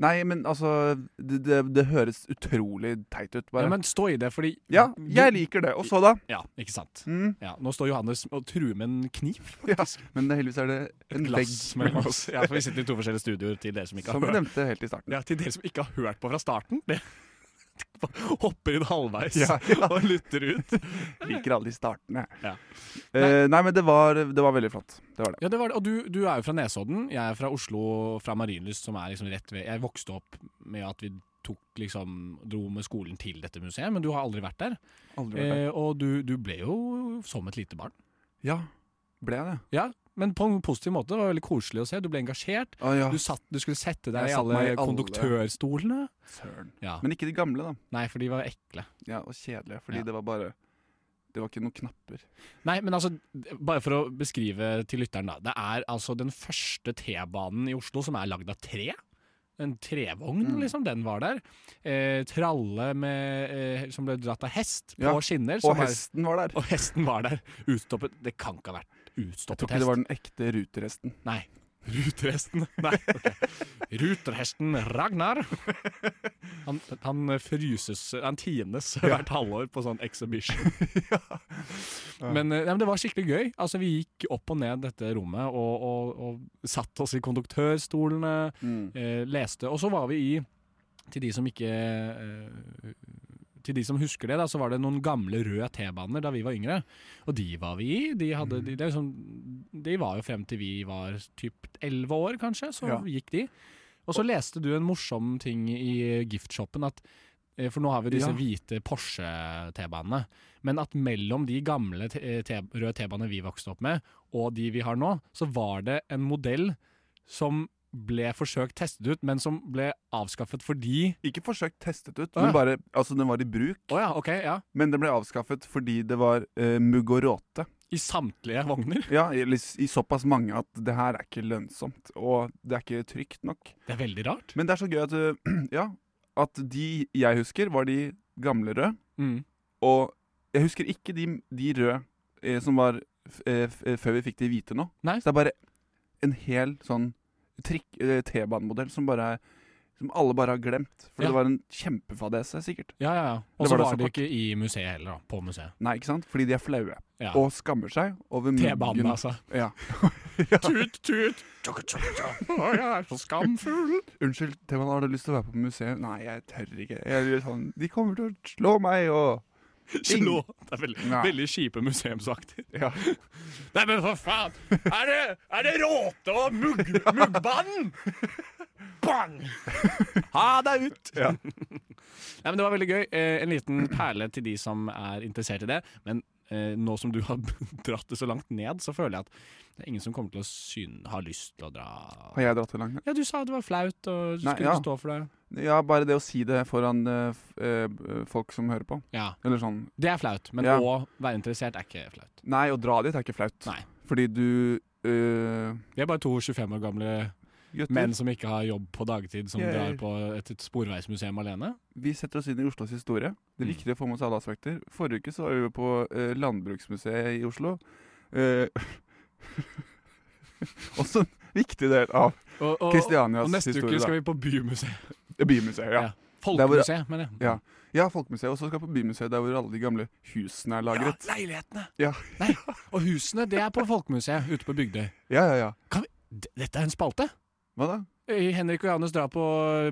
[SPEAKER 2] Nei, men altså Det, det, det høres utrolig teit ut, bare.
[SPEAKER 1] Ja,
[SPEAKER 2] Ja,
[SPEAKER 1] men stå i det, fordi
[SPEAKER 2] jeg liker det. Og så, da?
[SPEAKER 1] Ja, ikke sant.
[SPEAKER 2] Mm.
[SPEAKER 1] Ja, nå står Johannes og truer med en kniv.
[SPEAKER 2] Ja, men det, heldigvis er det en vegg
[SPEAKER 1] Glass
[SPEAKER 2] <laughs>
[SPEAKER 1] mellom oss. Ja, for vi sitter i to forskjellige studioer til dere som ikke
[SPEAKER 2] Som
[SPEAKER 1] har
[SPEAKER 2] vi
[SPEAKER 1] hørt.
[SPEAKER 2] nevnte helt i starten.
[SPEAKER 1] Ja, til dere som ikke har hørt på fra starten. Det <laughs> hopper inn halvveis <laughs>
[SPEAKER 2] Ja,
[SPEAKER 1] og lytter ut.
[SPEAKER 2] <laughs> Liker alle de startene.
[SPEAKER 1] Ja.
[SPEAKER 2] Eh, nei, men det var, det var veldig flott. Det var det.
[SPEAKER 1] Ja, det var det. Og du, du er jo fra Nesodden. Jeg er fra Oslo, fra Marienlyst, som er liksom rett ved Jeg vokste opp med at vi tok liksom Dro med skolen til dette museet, men du har aldri vært der.
[SPEAKER 2] Aldri vært
[SPEAKER 1] Eh,
[SPEAKER 2] der.
[SPEAKER 1] og du, du ble jo som et lite barn.
[SPEAKER 2] Ja, ble jeg det?
[SPEAKER 1] Ja, men på en positiv måte. Det var veldig koselig å se. Du ble engasjert.
[SPEAKER 2] Å ja,
[SPEAKER 1] Du, satt, du skulle sette deg
[SPEAKER 2] Ah. Jeg
[SPEAKER 1] i
[SPEAKER 2] satt
[SPEAKER 1] alle
[SPEAKER 2] meg i alle.
[SPEAKER 1] konduktørstolene.
[SPEAKER 2] søren.
[SPEAKER 1] Ja.
[SPEAKER 2] Men ikke de gamle, da.
[SPEAKER 1] Nei, for de var ekle.
[SPEAKER 2] Ja, Og kjedelige, fordi
[SPEAKER 1] Ja.
[SPEAKER 2] det var bare Det var ikke noen knapper.
[SPEAKER 1] Nei, men altså, bare for å beskrive til lytteren, da. Det er altså den første T-banen i Oslo som er lagd av tre. En trevogn,
[SPEAKER 2] Mm.
[SPEAKER 1] liksom. Den var der. Eh, tralle med, eh, som ble dratt av hest
[SPEAKER 2] Ja,
[SPEAKER 1] på skinner. som
[SPEAKER 2] Og
[SPEAKER 1] var-
[SPEAKER 2] hesten var der.
[SPEAKER 1] og hesten var der. Utstoppet Det kan ikke ha vært
[SPEAKER 2] Jeg tror
[SPEAKER 1] utstoppet
[SPEAKER 2] ikke det
[SPEAKER 1] hest.
[SPEAKER 2] var den ekte ruteresten.
[SPEAKER 1] Nei. Ruterhesten. <laughs> Nei. ok. Ruterhesten Ragnar. Han, han fryses Han tines hvert halvår på sånn exhibition. Men, eh, nei, men det var skikkelig gøy. Altså, vi gikk opp og ned dette rommet og, og, og satt oss i konduktørstolene,
[SPEAKER 2] Mm.
[SPEAKER 1] eh, leste. Og så var vi i Til de som ikke eh, Til de som husker det, da, så var det noen gamle røde T-baner da vi var yngre. Og de var vi i. De,
[SPEAKER 2] Mm.
[SPEAKER 1] hadde, de, det er liksom, de var jo frem til vi var typ 11 år, kanskje. Så
[SPEAKER 2] Ja.
[SPEAKER 1] gikk de. Og så leste du en morsom ting i giftshoppen. At, eh, for nå har vi disse
[SPEAKER 2] Ja.
[SPEAKER 1] hvite Porsche-T-banene. Men at mellom de gamle te eh, te røde T-banene vi vokste opp med, og de vi har nå, så var det en modell som ble forsøkt testet ut, men som ble avskaffet fordi
[SPEAKER 2] Ikke forsøkt testet ut,
[SPEAKER 1] Å, ja.
[SPEAKER 2] men bare, altså den var i bruk.
[SPEAKER 1] Å ja, ok, ja.
[SPEAKER 2] Men den ble avskaffet fordi det var eh, mugg og råte.
[SPEAKER 1] I samtlige vogner.
[SPEAKER 2] Ja, i, i såpass mange at det her er ikke lønnsomt, og det er ikke trygt nok.
[SPEAKER 1] Det er veldig rart.
[SPEAKER 2] Men det er så gøy at, eh, <clears throat> ja, at de jeg husker, var de gamle røde.
[SPEAKER 1] Mm.
[SPEAKER 2] Og jeg husker ikke de, de røde eh, som var f- eh, f- eh, før vi fikk de hvite nå.
[SPEAKER 1] Nei.
[SPEAKER 2] Så det er bare en hel sånn trikk, eh, T-banemodell som bare er som alle bare har glemt.
[SPEAKER 1] Ja.
[SPEAKER 2] For det var en kjempefadese, sikkert.
[SPEAKER 1] Ja, ja, ja. Og
[SPEAKER 2] Det
[SPEAKER 1] så
[SPEAKER 2] var
[SPEAKER 1] var,
[SPEAKER 2] det
[SPEAKER 1] det
[SPEAKER 2] så
[SPEAKER 1] ikke i museet heller, da. På museet.
[SPEAKER 2] Nei, ikke sant? Fordi de er flaue.
[SPEAKER 1] Ja.
[SPEAKER 2] Og skammer seg over
[SPEAKER 1] T-banen,
[SPEAKER 2] muggen.
[SPEAKER 1] <laughs> altså.
[SPEAKER 2] Ja.
[SPEAKER 1] Tut, tut! Tjokk, tjokk, tjokk. Å, jeg er så skamfull!
[SPEAKER 2] Unnskyld, T-banen, har du lyst til å være på museet? Nei, jeg tør ikke. Jeg blir sånn, de kommer til å slå meg og
[SPEAKER 1] Slå. Det er veldig,
[SPEAKER 2] Nei.
[SPEAKER 1] veldig kjipe museumsaktig.
[SPEAKER 2] Ja.
[SPEAKER 1] <laughs> Nei, men for faen! Er det, er det råte og
[SPEAKER 2] <laughs>
[SPEAKER 1] mugg, muggbanen? Bang! Ha deg ut! Nei, men Det var veldig gøy. Eh, en liten perle til de som er interessert i det. Men eh, nå som du har <laughs> dratt det så langt ned, så føler jeg at det er ingen som kommer til å syn ha lyst til å dra
[SPEAKER 2] Har jeg dratt det langt?
[SPEAKER 1] Ja, Du sa det var flaut, og du
[SPEAKER 2] Nei,
[SPEAKER 1] skulle
[SPEAKER 2] ja.
[SPEAKER 1] ikke stå for det.
[SPEAKER 2] Ja, bare det å si det foran eh, f- eh, folk som hører på.
[SPEAKER 1] Ja,
[SPEAKER 2] Eller sånn,
[SPEAKER 1] Det er flaut, men
[SPEAKER 2] Ja.
[SPEAKER 1] å være interessert er ikke flaut.
[SPEAKER 2] Nei, å dra dit er ikke flaut.
[SPEAKER 1] Nei.
[SPEAKER 2] Fordi du øh,
[SPEAKER 1] Vi er bare to 25 år gamle
[SPEAKER 2] Gutter,
[SPEAKER 1] menn som ikke har jobb på dagtid, som
[SPEAKER 2] Yay.
[SPEAKER 1] drar på et, et sporveismuseum alene.
[SPEAKER 2] vi setter oss inn i Oslos historie. Det er
[SPEAKER 1] Mm.
[SPEAKER 2] viktig å få med seg alle aspekter. Forrige uke så var vi på øh, Landbruksmuseet i Oslo. Eh, <laughs> også en viktig del av
[SPEAKER 1] Og, og, og
[SPEAKER 2] Kristianias
[SPEAKER 1] neste
[SPEAKER 2] historie.
[SPEAKER 1] uke skal
[SPEAKER 2] da.
[SPEAKER 1] vi på <laughs> Bymuseet.
[SPEAKER 2] Bymuseet, ja.
[SPEAKER 1] Ja.
[SPEAKER 2] Der hvor-
[SPEAKER 1] Folkemuseet, mener jeg.
[SPEAKER 2] Ja. Ja, Folkemuseet. Og så skal vi på Bymuseet, der hvor alle de gamle husene
[SPEAKER 1] Ja,
[SPEAKER 2] er lagret.
[SPEAKER 1] leilighetene.
[SPEAKER 2] Ja.
[SPEAKER 1] Nei, og husene, det er på Folkemuseet ute på Bygdøy.
[SPEAKER 2] Ja, ja, ja.
[SPEAKER 1] D dette er en spalte.
[SPEAKER 2] Hva da?
[SPEAKER 1] Eh, Henrik og Johannes drar på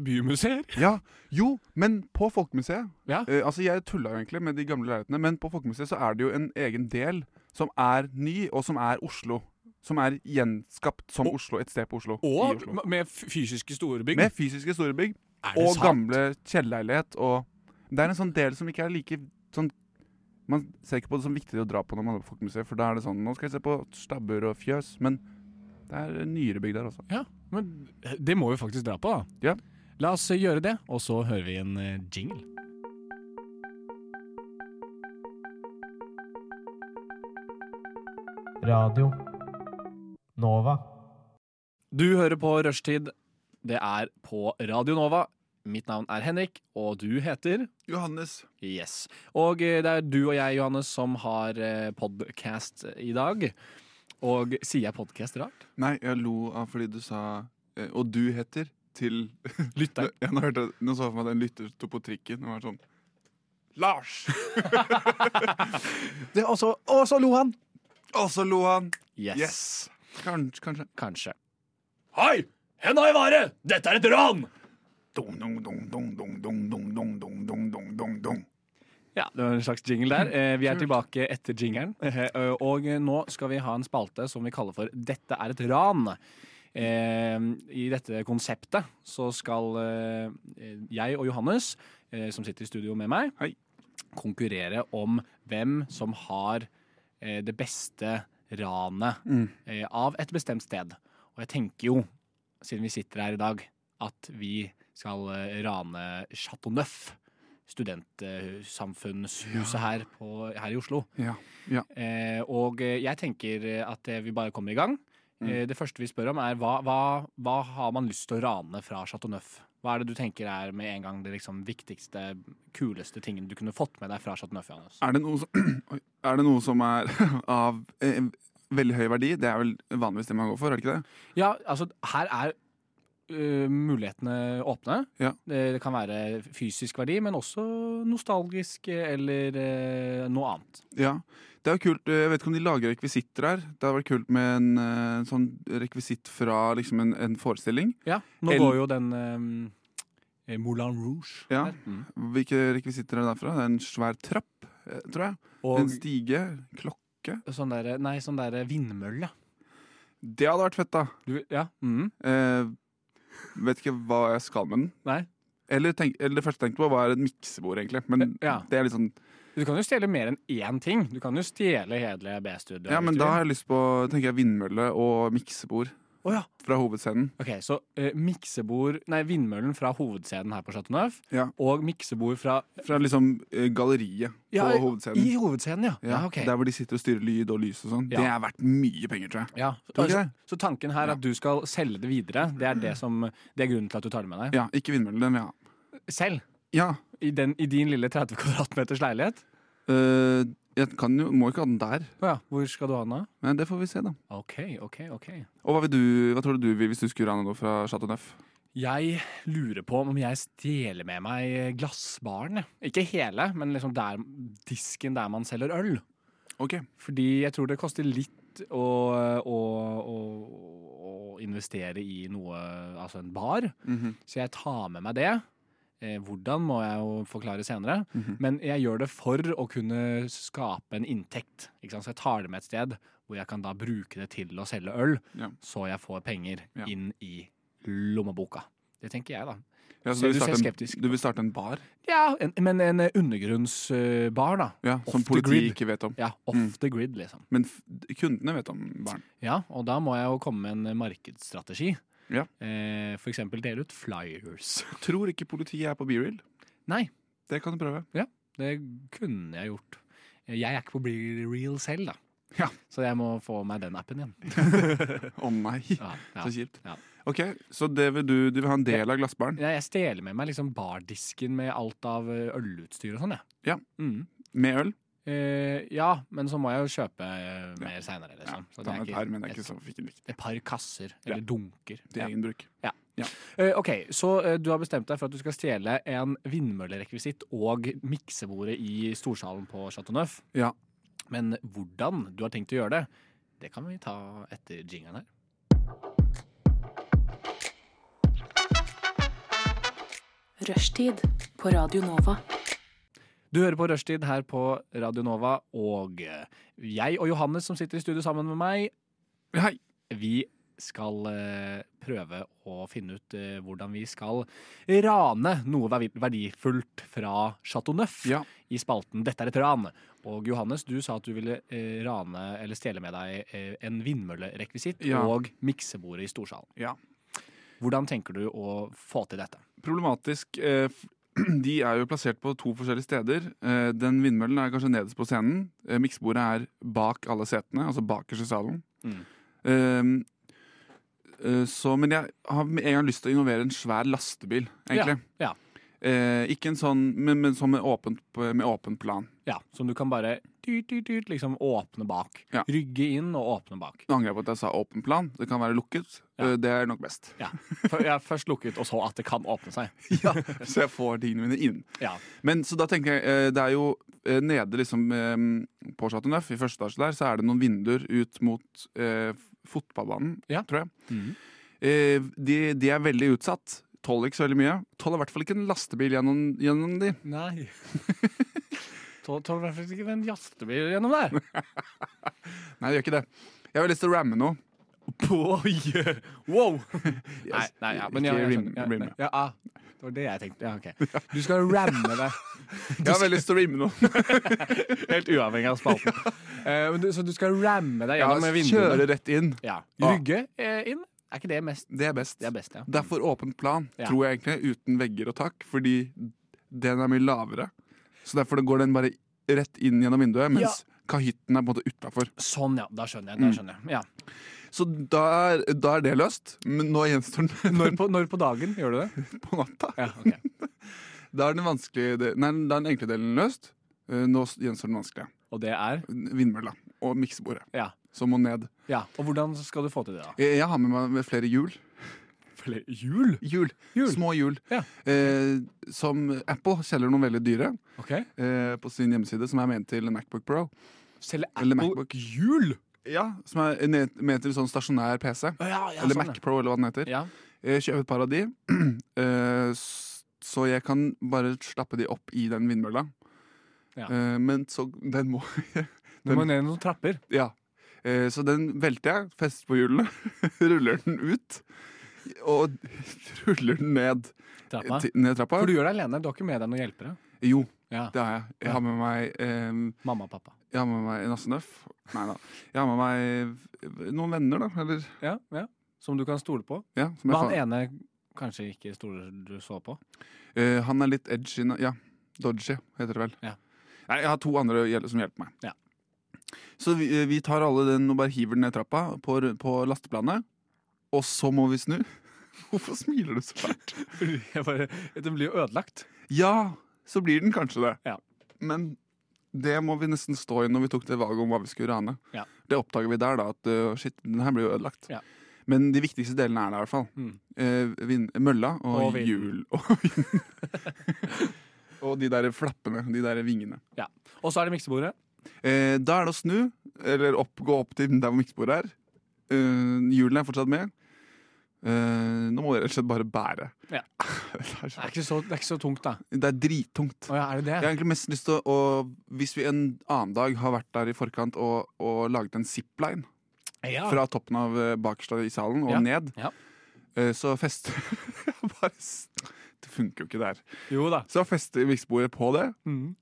[SPEAKER 1] bymuseer.
[SPEAKER 2] Ja, Jo, men på Folkemuseet
[SPEAKER 1] Ja.
[SPEAKER 2] eh, Altså, jeg tulla jo egentlig med de gamle leilighetene, men på Folkemuseet så er det jo en egen del som er ny, og som er Oslo. Som er gjenskapt som
[SPEAKER 1] Og-
[SPEAKER 2] Oslo, et sted på Oslo. i
[SPEAKER 1] Og
[SPEAKER 2] Oslo.
[SPEAKER 1] m- med f- fysiske store bygg.
[SPEAKER 2] Med fysiske storebygg
[SPEAKER 1] Er det
[SPEAKER 2] og
[SPEAKER 1] sant?
[SPEAKER 2] gamle kjellerleilighet og Det er en sånn del som ikke er like sånn Man ser ikke på det som viktig å dra på når man er på Folkemuseet, for da er det sånn Nå skal jeg se på stabbur og fjøs, men det er nyere bygg der også.
[SPEAKER 1] Ja, men eh, det må vi faktisk dra på, da.
[SPEAKER 2] Ja.
[SPEAKER 1] eh, La oss gjøre det, og så hører vi en eh, jingle.
[SPEAKER 7] Radio Nova.
[SPEAKER 1] Du hører på Rushtid. Det er på Radio Nova. Mitt navn er Henrik, og du heter
[SPEAKER 2] Johannes.
[SPEAKER 1] Yes. Og eh, det er du og jeg, Johannes, som har eh, podcast eh, i dag. Og sier jeg podcast rart?
[SPEAKER 2] Nei, jeg lo av fordi du sa eh, Og du heter til <laughs>
[SPEAKER 1] Lytter.
[SPEAKER 2] Ja, nå, hørte jeg, nå så jeg for meg at en lytter sto på trikken og var sånn
[SPEAKER 1] <laughs>
[SPEAKER 2] Lars!
[SPEAKER 1] Og så lo han!
[SPEAKER 2] Og så lo han.
[SPEAKER 1] Yes.
[SPEAKER 2] Yes. Kanskje, kanskje.
[SPEAKER 1] Kanskje. Hei! Henda i været! Dette er et ran!
[SPEAKER 2] Dung, dung, dung, dung, dung, dung, dung, dung, dung, dung, dung, dung, dung.
[SPEAKER 1] Ja, det var en slags jingle der. Eh, Vi er tilbake etter jingeren. Eh, Og eh, nå skal vi ha en spalte som vi kaller for 'Dette er et ran'. Eh, I dette konseptet så skal eh, jeg og Johannes, eh, som sitter i studio med meg,
[SPEAKER 2] Hei.
[SPEAKER 1] konkurrere om hvem som har eh, det beste ranet eh, av et bestemt sted. Og jeg tenker jo, siden vi sitter her i dag, at vi skal eh, rane Chateau Neuf studentsamfunnshuset her, på, her i Oslo.
[SPEAKER 2] Ja. ja.
[SPEAKER 1] Eh, og eh, jeg tenker at eh, vi bare kommer i gang. Eh, det første vi spør om, er hva, hva, hva har man lyst til å rane fra Chateau Neuf? Hva er det du tenker er med en gang det liksom viktigste, kuleste tingen du kunne fått med deg fra Chateau Neuf? Johannes?
[SPEAKER 2] Er det noe som, <clears throat> Oi. er, det noe som er <laughs> av eh, veldig høy verdi? Det er vel vanligvis det man går for, er det ikke det?
[SPEAKER 1] Ja, altså, her er ø, mulighetene åpne.
[SPEAKER 2] Ja.
[SPEAKER 1] Det, det kan være fysisk verdi, men også nostalgisk eh, eller eh, noe annet.
[SPEAKER 2] Ja. Det er jo kult, eh, Jeg vet ikke om de lager rekvisitter her. Det hadde vært kult med en eh, sånn rekvisitt fra liksom en, en forestilling.
[SPEAKER 1] Ja, nå
[SPEAKER 2] El-
[SPEAKER 1] går jo den eh, Moulin Rouge.
[SPEAKER 2] Ja.
[SPEAKER 1] her. Mm.
[SPEAKER 2] Hvilke rekvisitter er det derfra? Det er en svær trapp, eh, tror jeg. En
[SPEAKER 1] Og
[SPEAKER 2] stige. Klokke.
[SPEAKER 1] sånn derre Nei, sånn derre vindmølle.
[SPEAKER 2] Det hadde vært fett, da.
[SPEAKER 1] Du, ja. Mm.
[SPEAKER 2] Eh, vet ikke hva jeg skal med den.
[SPEAKER 1] Nei.
[SPEAKER 2] Eller, tenk, eller det første jeg tenkte på, var et miksebord, egentlig. Men
[SPEAKER 1] Eh, Ja.
[SPEAKER 2] det er litt sånn
[SPEAKER 1] Du kan jo stjele mer enn én ting. Du kan jo stjele hele B-studioet.
[SPEAKER 2] Ja, men da har jeg lyst på tenker jeg, vindmølle og miksebord
[SPEAKER 1] Å ja.
[SPEAKER 2] fra hovedscenen.
[SPEAKER 1] Ok, Så eh, miksebord Nei, vindmøllen fra hovedscenen her på Chateau Neuf,
[SPEAKER 2] Ja.
[SPEAKER 1] og miksebord fra
[SPEAKER 2] Fra liksom eh, galleriet
[SPEAKER 1] Ja,
[SPEAKER 2] på hovedscenen.
[SPEAKER 1] I hovedscenen, ja. ja. ok.
[SPEAKER 2] Der hvor de sitter og styrer lyd og lys og sånn.
[SPEAKER 1] Ja.
[SPEAKER 2] Det er verdt mye penger, tror jeg.
[SPEAKER 1] Ja,
[SPEAKER 2] Tror du
[SPEAKER 1] altså,
[SPEAKER 2] ikke det?
[SPEAKER 1] Så tanken her er at du skal selge det videre. Det er, det, som, det er grunnen til at du tar det med deg.
[SPEAKER 2] Ja, ikke vindmølle, den vil jeg ha.
[SPEAKER 1] Selv?
[SPEAKER 2] Ja,
[SPEAKER 1] I, den, I din lille 30 kvadratmeters leilighet?
[SPEAKER 2] eh, jeg kan jo, må ikke ha den der,
[SPEAKER 1] Å Ja, hvor skal du ha den da?
[SPEAKER 2] men det får vi se, da.
[SPEAKER 1] OK, OK, OK.
[SPEAKER 2] Og hva, vil du, hva tror du du vil hvis du skulle rane noe fra Chateau Neuf?
[SPEAKER 1] Jeg lurer på om jeg stjeler med meg glassbaren. jeg. Ikke hele, men liksom der, disken der man selger øl.
[SPEAKER 2] Ok,
[SPEAKER 1] Fordi jeg tror det koster litt å, å, å, å investere i noe, altså en bar.
[SPEAKER 2] Mhm.
[SPEAKER 1] Så jeg tar med meg det. Eh, hvordan må jeg jo forklare senere.
[SPEAKER 2] Mhm.
[SPEAKER 1] Men jeg gjør det for å kunne skape en inntekt. Ikke sant? Så jeg tar det med et sted hvor jeg kan da bruke det til å selge øl,
[SPEAKER 2] Ja.
[SPEAKER 1] så jeg får penger
[SPEAKER 2] Ja.
[SPEAKER 1] inn i lommeboka. Det tenker jeg, da.
[SPEAKER 2] Ja,
[SPEAKER 1] Ser
[SPEAKER 2] så du,
[SPEAKER 1] du
[SPEAKER 2] vil
[SPEAKER 1] ser
[SPEAKER 2] starte
[SPEAKER 1] skeptisk.
[SPEAKER 2] en, du vil starte en bar?
[SPEAKER 1] Ja, en, Men en eh, undergrunnsbar, da.
[SPEAKER 2] Ja,
[SPEAKER 1] Off
[SPEAKER 2] Som
[SPEAKER 1] the
[SPEAKER 2] politiet
[SPEAKER 1] grid.
[SPEAKER 2] ikke vet om.
[SPEAKER 1] Ja, off
[SPEAKER 2] Mm.
[SPEAKER 1] the grid, liksom.
[SPEAKER 2] Men f kundene vet om baren.
[SPEAKER 1] Ja, og da må jeg jo komme med en eh, markedsstrategi.
[SPEAKER 2] Ja.
[SPEAKER 1] Eh, for eksempel dele ut flyers.
[SPEAKER 2] Tror ikke politiet er på B-reel.
[SPEAKER 1] Nei.
[SPEAKER 2] Det kan du prøve.
[SPEAKER 1] Det kunne jeg gjort. Eh, Jeg er ikke på Be Real selv, da.
[SPEAKER 2] Ja.
[SPEAKER 1] Så jeg må få meg den appen igjen.
[SPEAKER 2] Å nei,
[SPEAKER 1] Ja, ja.
[SPEAKER 2] <laughs> så kjipt.
[SPEAKER 1] Ja.
[SPEAKER 2] Ok, Så det vil du, du vil ha en del av glassbaren?
[SPEAKER 1] Nei, Jeg stjeler med meg liksom bardisken med alt av eh, ølutstyr og sånn, jeg.
[SPEAKER 2] Ja.
[SPEAKER 1] Mm.
[SPEAKER 2] Med øl?
[SPEAKER 1] Eh, ja, men så må jeg jo kjøpe eh, mer seinere,
[SPEAKER 2] Ja,
[SPEAKER 1] liksom. Så det
[SPEAKER 2] ta
[SPEAKER 1] er
[SPEAKER 2] med et
[SPEAKER 1] ikke-
[SPEAKER 2] par, men det er
[SPEAKER 1] et-
[SPEAKER 2] ikke så fikk en viktig.
[SPEAKER 1] Et par kasser,
[SPEAKER 2] Ja.
[SPEAKER 1] eller dunker.
[SPEAKER 2] Til
[SPEAKER 1] Ja.
[SPEAKER 2] egen bruk.
[SPEAKER 1] Eh, ok, Så eh, du har bestemt deg for at du skal stjele en vindmøllerekvisitt og miksebordet i storsalen på Chateau Neuf.
[SPEAKER 2] Ja.
[SPEAKER 1] Men hvordan du har tenkt å gjøre det, det kan vi ta etter jingeren her.
[SPEAKER 8] Rushtid på Radio Nova.
[SPEAKER 1] Du hører på Rushtid her på Radio Nova, og eh, jeg og Johannes som sitter i studio sammen med meg,
[SPEAKER 2] Hei!
[SPEAKER 1] vi skal eh, prøve å finne ut eh, hvordan vi skal rane noe verdi- verdifullt fra Chateau Neuf.
[SPEAKER 2] Ja.
[SPEAKER 1] i spalten 'Dette er et ran'. Og Johannes, du sa at du ville eh, rane eller stjele med deg eh, en vindmøllerekvisitt
[SPEAKER 2] Ja.
[SPEAKER 1] og miksebordet i storsalen.
[SPEAKER 2] Ja.
[SPEAKER 1] Hvordan tenker du å få til dette?
[SPEAKER 2] Problematisk. Eh, f- <clears throat> de er jo plassert på to forskjellige steder. Eh, Den vindmøllen er kanskje nederst på scenen. Eh, Miksebordet er bak alle setene, altså bakerst i salen.
[SPEAKER 3] Mm.
[SPEAKER 2] Eh, eh, Så, men jeg har med en gang lyst til å involvere en svær lastebil, egentlig.
[SPEAKER 1] Ja,
[SPEAKER 2] Eh, ikke en sånn, men, men sånn med åpent, med åpent plan.
[SPEAKER 1] Ja, Som du kan bare dyrt, dyrt, dyrt, liksom åpne bak.
[SPEAKER 2] Ja.
[SPEAKER 1] Rygge inn og åpne bak.
[SPEAKER 2] Nå angrer jeg på at jeg sa åpen plan. Det kan være lukket.
[SPEAKER 1] Ja.
[SPEAKER 2] Eh, Det er nok best.
[SPEAKER 1] Ja. For jeg har først lukket og så at det kan åpne seg.
[SPEAKER 2] Ja, <laughs> så jeg får tingene mine inn.
[SPEAKER 1] Ja.
[SPEAKER 2] Men så da tenker jeg, eh, det er jo eh, nede liksom eh, på Chateau Neuf, i første etasje der, så er det noen vinduer ut mot eh, f- fotballbanen,
[SPEAKER 1] Ja. Mhm.
[SPEAKER 2] tror jeg. Eh, de, de er veldig utsatt. Tåler ikke så veldig mye. Tåler i hvert fall ikke en lastebil gjennom, gjennom de.
[SPEAKER 1] <laughs> Nei. Tåler i hvert fall ikke en jastebil gjennom <laughs> der.
[SPEAKER 2] Nei, det gjør ikke det. Jeg har lyst til å ramme noe.
[SPEAKER 1] Oi! Wow! Nei,
[SPEAKER 2] Yes.
[SPEAKER 1] nei, ja, men
[SPEAKER 2] ikke
[SPEAKER 1] jeg, jeg
[SPEAKER 2] rim-
[SPEAKER 1] skjønner. Ja,
[SPEAKER 2] rimme.
[SPEAKER 1] nei, ja, ah, det var det jeg tenkte. <laughs> Ja, ok. Du skal ramme deg.
[SPEAKER 2] Jeg har veldig lyst til å rimme
[SPEAKER 1] <laughs>
[SPEAKER 2] noe.
[SPEAKER 1] Helt uavhengig av spalten. Eh, men du, så du skal ramme deg
[SPEAKER 2] Ja,
[SPEAKER 1] gjennom vinduene?
[SPEAKER 2] kjøre rett inn.
[SPEAKER 1] Ja.
[SPEAKER 2] Ah.
[SPEAKER 1] Rygge eh, inn? Er ikke det mest
[SPEAKER 2] Det er best.
[SPEAKER 1] Det er best, ja.
[SPEAKER 2] Derfor åpen plan,
[SPEAKER 1] Ja.
[SPEAKER 2] tror jeg egentlig, uten vegger og tak, fordi den er mye lavere. Så derfor går den bare rett inn gjennom vinduet, mens kahytten er på en måte utafor.
[SPEAKER 1] Sånn, ja. Da skjønner jeg. Da skjønner jeg. Ja.
[SPEAKER 2] Så da er, da er det løst, men nå gjenstår
[SPEAKER 1] <laughs>
[SPEAKER 2] den <laughs>
[SPEAKER 1] Når, på, når på dagen gjør du det?
[SPEAKER 2] på natta.
[SPEAKER 1] Ja, ok.
[SPEAKER 2] Da er den vanskelige de- Nei, da er den enkle delen løst. Eh, Nå s- gjenstår den vanskelige.
[SPEAKER 1] Og det er
[SPEAKER 2] Vindmølla og miksebordet,
[SPEAKER 1] Ja.
[SPEAKER 2] som må ned.
[SPEAKER 1] ja. Og hvordan skal du få til det, da?
[SPEAKER 2] Jeg jeg har med meg med flere hjul.
[SPEAKER 1] Flere hjul?
[SPEAKER 2] Hjul.
[SPEAKER 1] Hjul.
[SPEAKER 2] Små hjul.
[SPEAKER 1] Ja.
[SPEAKER 2] Eh, som Apple selger noen veldig dyre
[SPEAKER 1] Ok.
[SPEAKER 2] eh, på sin hjemmeside, som er ment til Macbook Pro.
[SPEAKER 1] Selge
[SPEAKER 2] Eller
[SPEAKER 1] Apple
[SPEAKER 2] Macbook.
[SPEAKER 1] hjul?
[SPEAKER 2] Ja, som er en med til sånn stasjonær
[SPEAKER 1] Å,
[SPEAKER 2] PC.
[SPEAKER 1] Ja, ja,
[SPEAKER 2] eller
[SPEAKER 1] sånn,
[SPEAKER 2] Mac Pro, eller hva den heter.
[SPEAKER 1] Ja.
[SPEAKER 2] Eh, Kjøp et par av de, <clears throat> eh, s- så jeg kan bare slappe de opp i den vindmølla.
[SPEAKER 1] Ja.
[SPEAKER 2] Eh, Men så den må <laughs>
[SPEAKER 1] Du må ned noen trapper.
[SPEAKER 2] Ja. Eh, Så den velter jeg, fester på hjulene, <laughs> ruller den ut. Og <laughs> ruller den ned,
[SPEAKER 1] Trappa.
[SPEAKER 2] ti- ned trappa.
[SPEAKER 1] For du gjør det alene. Du har ikke med deg noen hjelpere.
[SPEAKER 2] Jo,
[SPEAKER 1] Ja.
[SPEAKER 2] det har jeg. Jeg har med meg eh,
[SPEAKER 1] Mamma og pappa.
[SPEAKER 2] Jeg har med meg Nasse Nøff. Nei da. Jeg har med meg eh, noen venner, da. Eller
[SPEAKER 1] Ja, ja. Som du kan stole på.
[SPEAKER 2] ja, som jeg
[SPEAKER 1] Men han
[SPEAKER 2] faen-
[SPEAKER 1] ene kanskje ikke stoler du så på.
[SPEAKER 2] Eh, han er litt edgy nå- Ja, dodgy heter det vel.
[SPEAKER 1] Ja.
[SPEAKER 2] Nei, jeg har to andre hjel- som hjelper meg.
[SPEAKER 1] Ja.
[SPEAKER 2] Så vi, eh, vi tar alle den og bare hiver den ned trappa på, r- på lasteplanet. Og så må vi snu. <laughs> Hvorfor smiler du så fælt?
[SPEAKER 1] <laughs> Fordi jeg bare, Den blir jo ødelagt.
[SPEAKER 2] Ja, så blir den kanskje det.
[SPEAKER 1] Ja.
[SPEAKER 2] Men det må vi nesten stå i når vi tok det valget om hva vi skulle rane.
[SPEAKER 1] Ja.
[SPEAKER 2] Det oppdager vi der, da. At eh, shit, den her blir jo ødelagt.
[SPEAKER 1] Ja.
[SPEAKER 2] Men de viktigste delene er der i hvert fall.
[SPEAKER 1] Mm.
[SPEAKER 2] Eh, vind, mølla og,
[SPEAKER 1] Og vinden.
[SPEAKER 2] hjul og <laughs> vind.
[SPEAKER 1] <laughs>
[SPEAKER 2] og de der flappene, de der vingene.
[SPEAKER 1] Og så er det miksebordet.
[SPEAKER 2] Eh, da er det å snu, eller opp, gå opp til der hvor miksebordet er. Eh, hjulene er fortsatt med. Eh, nå må vi rett og slett bare bære.
[SPEAKER 1] Ja.
[SPEAKER 2] <laughs> det,
[SPEAKER 1] Det
[SPEAKER 2] er
[SPEAKER 1] er
[SPEAKER 2] så,
[SPEAKER 1] ikke så, det er ikke så tungt, da.
[SPEAKER 2] det er drittungt.
[SPEAKER 1] Å ja, er det
[SPEAKER 2] Jeg har
[SPEAKER 1] det?
[SPEAKER 2] egentlig mest lyst til å, å Hvis vi en annen dag har vært der i forkant og, og laget en zipline
[SPEAKER 1] Ja.
[SPEAKER 2] fra toppen av eh, bakerst i salen og
[SPEAKER 1] Ja.
[SPEAKER 2] ned,
[SPEAKER 1] Ja.
[SPEAKER 2] eh, så fester <laughs> jeg bare s- Det funker jo ikke der.
[SPEAKER 1] Jo da.
[SPEAKER 2] Så fester jeg miksebordet på det, <laughs>
[SPEAKER 1] Mm.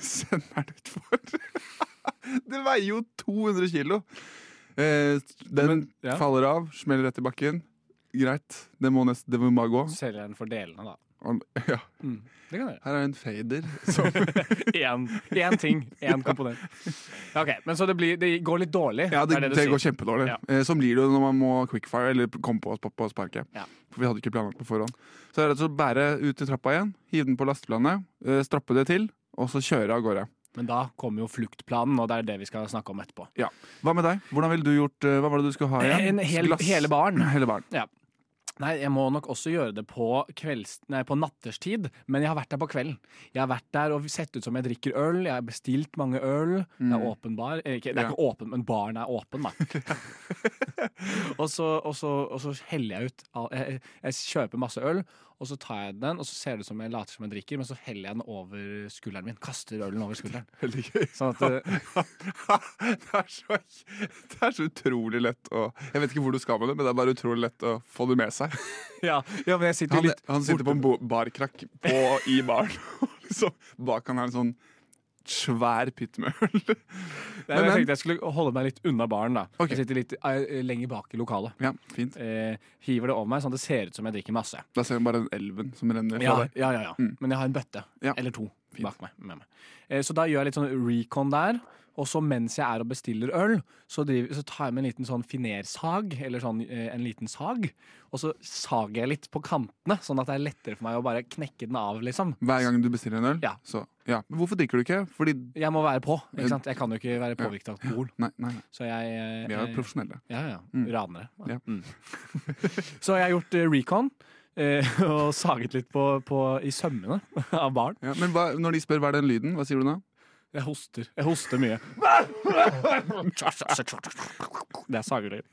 [SPEAKER 2] sender den utfor. <laughs> det veier jo 200 kilo. Eh, den
[SPEAKER 1] Men- ja.
[SPEAKER 2] faller av, smeller rett i bakken. Greit, det må, nest, det må bare gå.
[SPEAKER 1] Selger den for delene, da.
[SPEAKER 2] Og- Ja,
[SPEAKER 1] Mm. Det kan du gjøre.
[SPEAKER 2] her er en fader. som-
[SPEAKER 1] <laughs> Én én ting, én komponent. Ja, Ok, Men så det, blir, det går litt dårlig?
[SPEAKER 2] Ja, det,
[SPEAKER 1] er
[SPEAKER 2] det,
[SPEAKER 1] du
[SPEAKER 2] går
[SPEAKER 1] sier.
[SPEAKER 2] kjempedårlig.
[SPEAKER 1] Ja.
[SPEAKER 2] Eh, Sånn blir det jo når man må quickfire eller komme på, på, på sparket.
[SPEAKER 1] Ja.
[SPEAKER 2] For vi hadde ikke planlagt på forhånd. Så det er rett og slett å bære ut i trappa igjen, hive den på lasteplanet, eh, strappe det til, og så kjøre av gårde.
[SPEAKER 1] Men da kommer jo fluktplanen, og det er det vi skal snakke om etterpå.
[SPEAKER 2] Hva med deg? Hvordan ville du gjort eh, Hva var det du skulle ha igjen?
[SPEAKER 1] En hel,
[SPEAKER 2] Glass-
[SPEAKER 1] hele baren.
[SPEAKER 2] <laughs> Hele baren.
[SPEAKER 1] Nei, jeg må nok også gjøre det på, kvelds, nei, på natterstid, men jeg har vært der på kvelden. Jeg har vært der og sett ut som jeg drikker øl, jeg har bestilt mange øl. Det er åpen bar. Eh, Ikke, det er
[SPEAKER 2] Ja.
[SPEAKER 1] ikke åpen, men baren er åpen, da. <laughs> og, så, og, så, og så heller jeg ut all- jeg, jeg kjøper masse øl, og så tar jeg den, og så ser det ut som jeg later som jeg drikker, men så heller jeg den over skulderen min. Kaster ølen over skulderen.
[SPEAKER 2] Veldig <laughs> gøy.
[SPEAKER 1] Sånn at eh,
[SPEAKER 2] det, er så, det er så utrolig lett å Jeg vet ikke hvor du skal med det, men det er bare utrolig lett å få det med seg.
[SPEAKER 1] <laughs> ja, ja, men jeg sitter
[SPEAKER 2] Han,
[SPEAKER 1] litt
[SPEAKER 2] <laughs> han sitter på en bo- barkrakk på, i baren, og liksom, bak han er en sånn svær pytt med øl. <laughs>
[SPEAKER 1] Nei, men jeg
[SPEAKER 2] men-
[SPEAKER 1] tenkte jeg skulle holde meg litt unna baren. da
[SPEAKER 2] Ok.
[SPEAKER 1] Jeg sitter litt eh, lenger bak i lokalet.
[SPEAKER 2] Ja, fint.
[SPEAKER 1] Eh, hiver det over meg sånn at det ser ut som jeg drikker masse.
[SPEAKER 2] Da ser vi bare den elven som renner fra
[SPEAKER 1] Ja,
[SPEAKER 2] deg.
[SPEAKER 1] ja, ja, ja.
[SPEAKER 2] Mm.
[SPEAKER 1] Men jeg har en bøtte
[SPEAKER 2] Ja.
[SPEAKER 1] eller to
[SPEAKER 2] Fint.
[SPEAKER 1] bak meg, med meg. Eh, Så da gjør jeg litt sånn recon der. Og så mens jeg er og bestiller øl, så, driver, så tar jeg med en liten sånn finersag, eller sånn eh, en liten sag, og så sager jeg litt på kantene, sånn at det er lettere for meg å bare knekke den av, liksom.
[SPEAKER 2] Hver gang du bestiller en øl.
[SPEAKER 1] Ja.
[SPEAKER 2] Så, ja. Men hvorfor drikker du ikke? Fordi
[SPEAKER 1] Jeg må være på, ikke sant? Jeg kan jo ikke være påvirket av alkohol.
[SPEAKER 2] Nei, nei, nei.
[SPEAKER 1] Så jeg eh,
[SPEAKER 2] vi er
[SPEAKER 1] eh,
[SPEAKER 2] jo profesjonelle.
[SPEAKER 1] Ja, ja.
[SPEAKER 2] Mm.
[SPEAKER 1] Ranere.
[SPEAKER 2] Ja.
[SPEAKER 1] Mm. <laughs> så jeg har gjort eh, recon eh, <laughs> og saget litt på, på, i sømmene <laughs> av barn.
[SPEAKER 2] Ja, men hva, når de spør hva er den lyden, hva sier du da?
[SPEAKER 1] Jeg hoster. Jeg hoster <laughs> mye. Det er <laughs> sagelyd.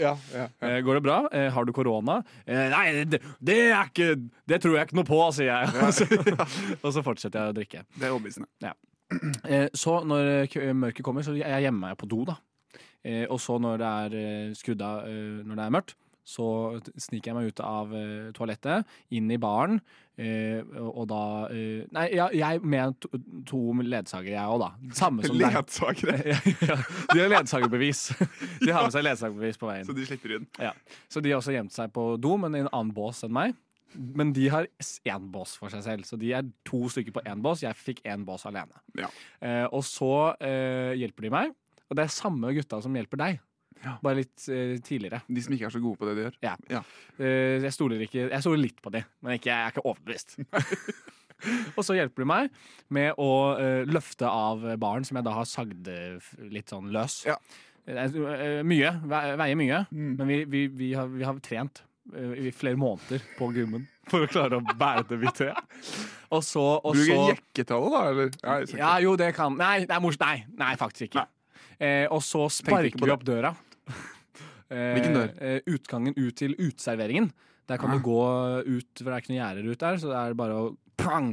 [SPEAKER 2] Ja, ja,
[SPEAKER 1] Eh, går det bra? Eh, har du korona? Eh, nei, det, det er ikke Det tror jeg ikke noe på, sier jeg. Og så, <laughs> og så fortsetter jeg å drikke.
[SPEAKER 2] Det er overbevisende.
[SPEAKER 1] Eh, så når eh, k- mørket kommer, så jeg gjemmer meg på do, da. Eh, og så når det er eh, skrudd av, eh, når det er mørkt, så t- sniker jeg meg ut av eh, toalettet, inn i baren, eh, og og da eh, Nei, jeg, jeg med to, to ledsagere, jeg òg, da. Samme
[SPEAKER 2] <laughs>
[SPEAKER 1] som deg. <laughs>
[SPEAKER 2] Ledsagere,
[SPEAKER 1] Ja, ja. De har ledsagerbevis. De har med seg ledsagerbevis på veien.
[SPEAKER 2] så de slipper inn.
[SPEAKER 1] Ja. Så de har også gjemt seg på do, men i en annen bås enn meg. Men de har s- én bås for seg selv, så de er to stykker på én bås. Jeg fikk én bås alene.
[SPEAKER 2] Ja.
[SPEAKER 1] Eh, og så eh, hjelper de meg, og det er samme gutta som hjelper deg.
[SPEAKER 2] Ja.
[SPEAKER 1] Bare litt eh, tidligere.
[SPEAKER 2] De som ikke er så gode på det de gjør.
[SPEAKER 1] Eh, jeg stoler ikke Jeg stoler litt på de, men ikke, jeg er ikke overbevist. <laughs> og så hjelper de meg med å eh, løfte av baren, som jeg da har sagd eh, f- litt sånn løs.
[SPEAKER 2] Ja.
[SPEAKER 1] Det er, eh, mye. ve- Veier mye.
[SPEAKER 2] Mm.
[SPEAKER 1] Men vi, vi, vi, har, vi har trent eh, i flere måneder på gymmen for å klare å bære det vi tre. Og så, og
[SPEAKER 2] Bruk en
[SPEAKER 1] så
[SPEAKER 2] jekketale, da, eller? Ja, jeg ser
[SPEAKER 1] Ja, jo, det kan Nei, det er mors... Nei, nei faktisk ikke. Eh, og så
[SPEAKER 2] Tenkte
[SPEAKER 1] sparker
[SPEAKER 2] ikke på
[SPEAKER 1] vi
[SPEAKER 2] det.
[SPEAKER 1] opp døra. Eh,
[SPEAKER 2] <laughs> Hvilken dør?
[SPEAKER 1] Eh, utgangen ut til uteserveringen. Der kan
[SPEAKER 2] Ah.
[SPEAKER 1] du gå ut, for det er ikke noen gjerder ut der, så det er bare å pang!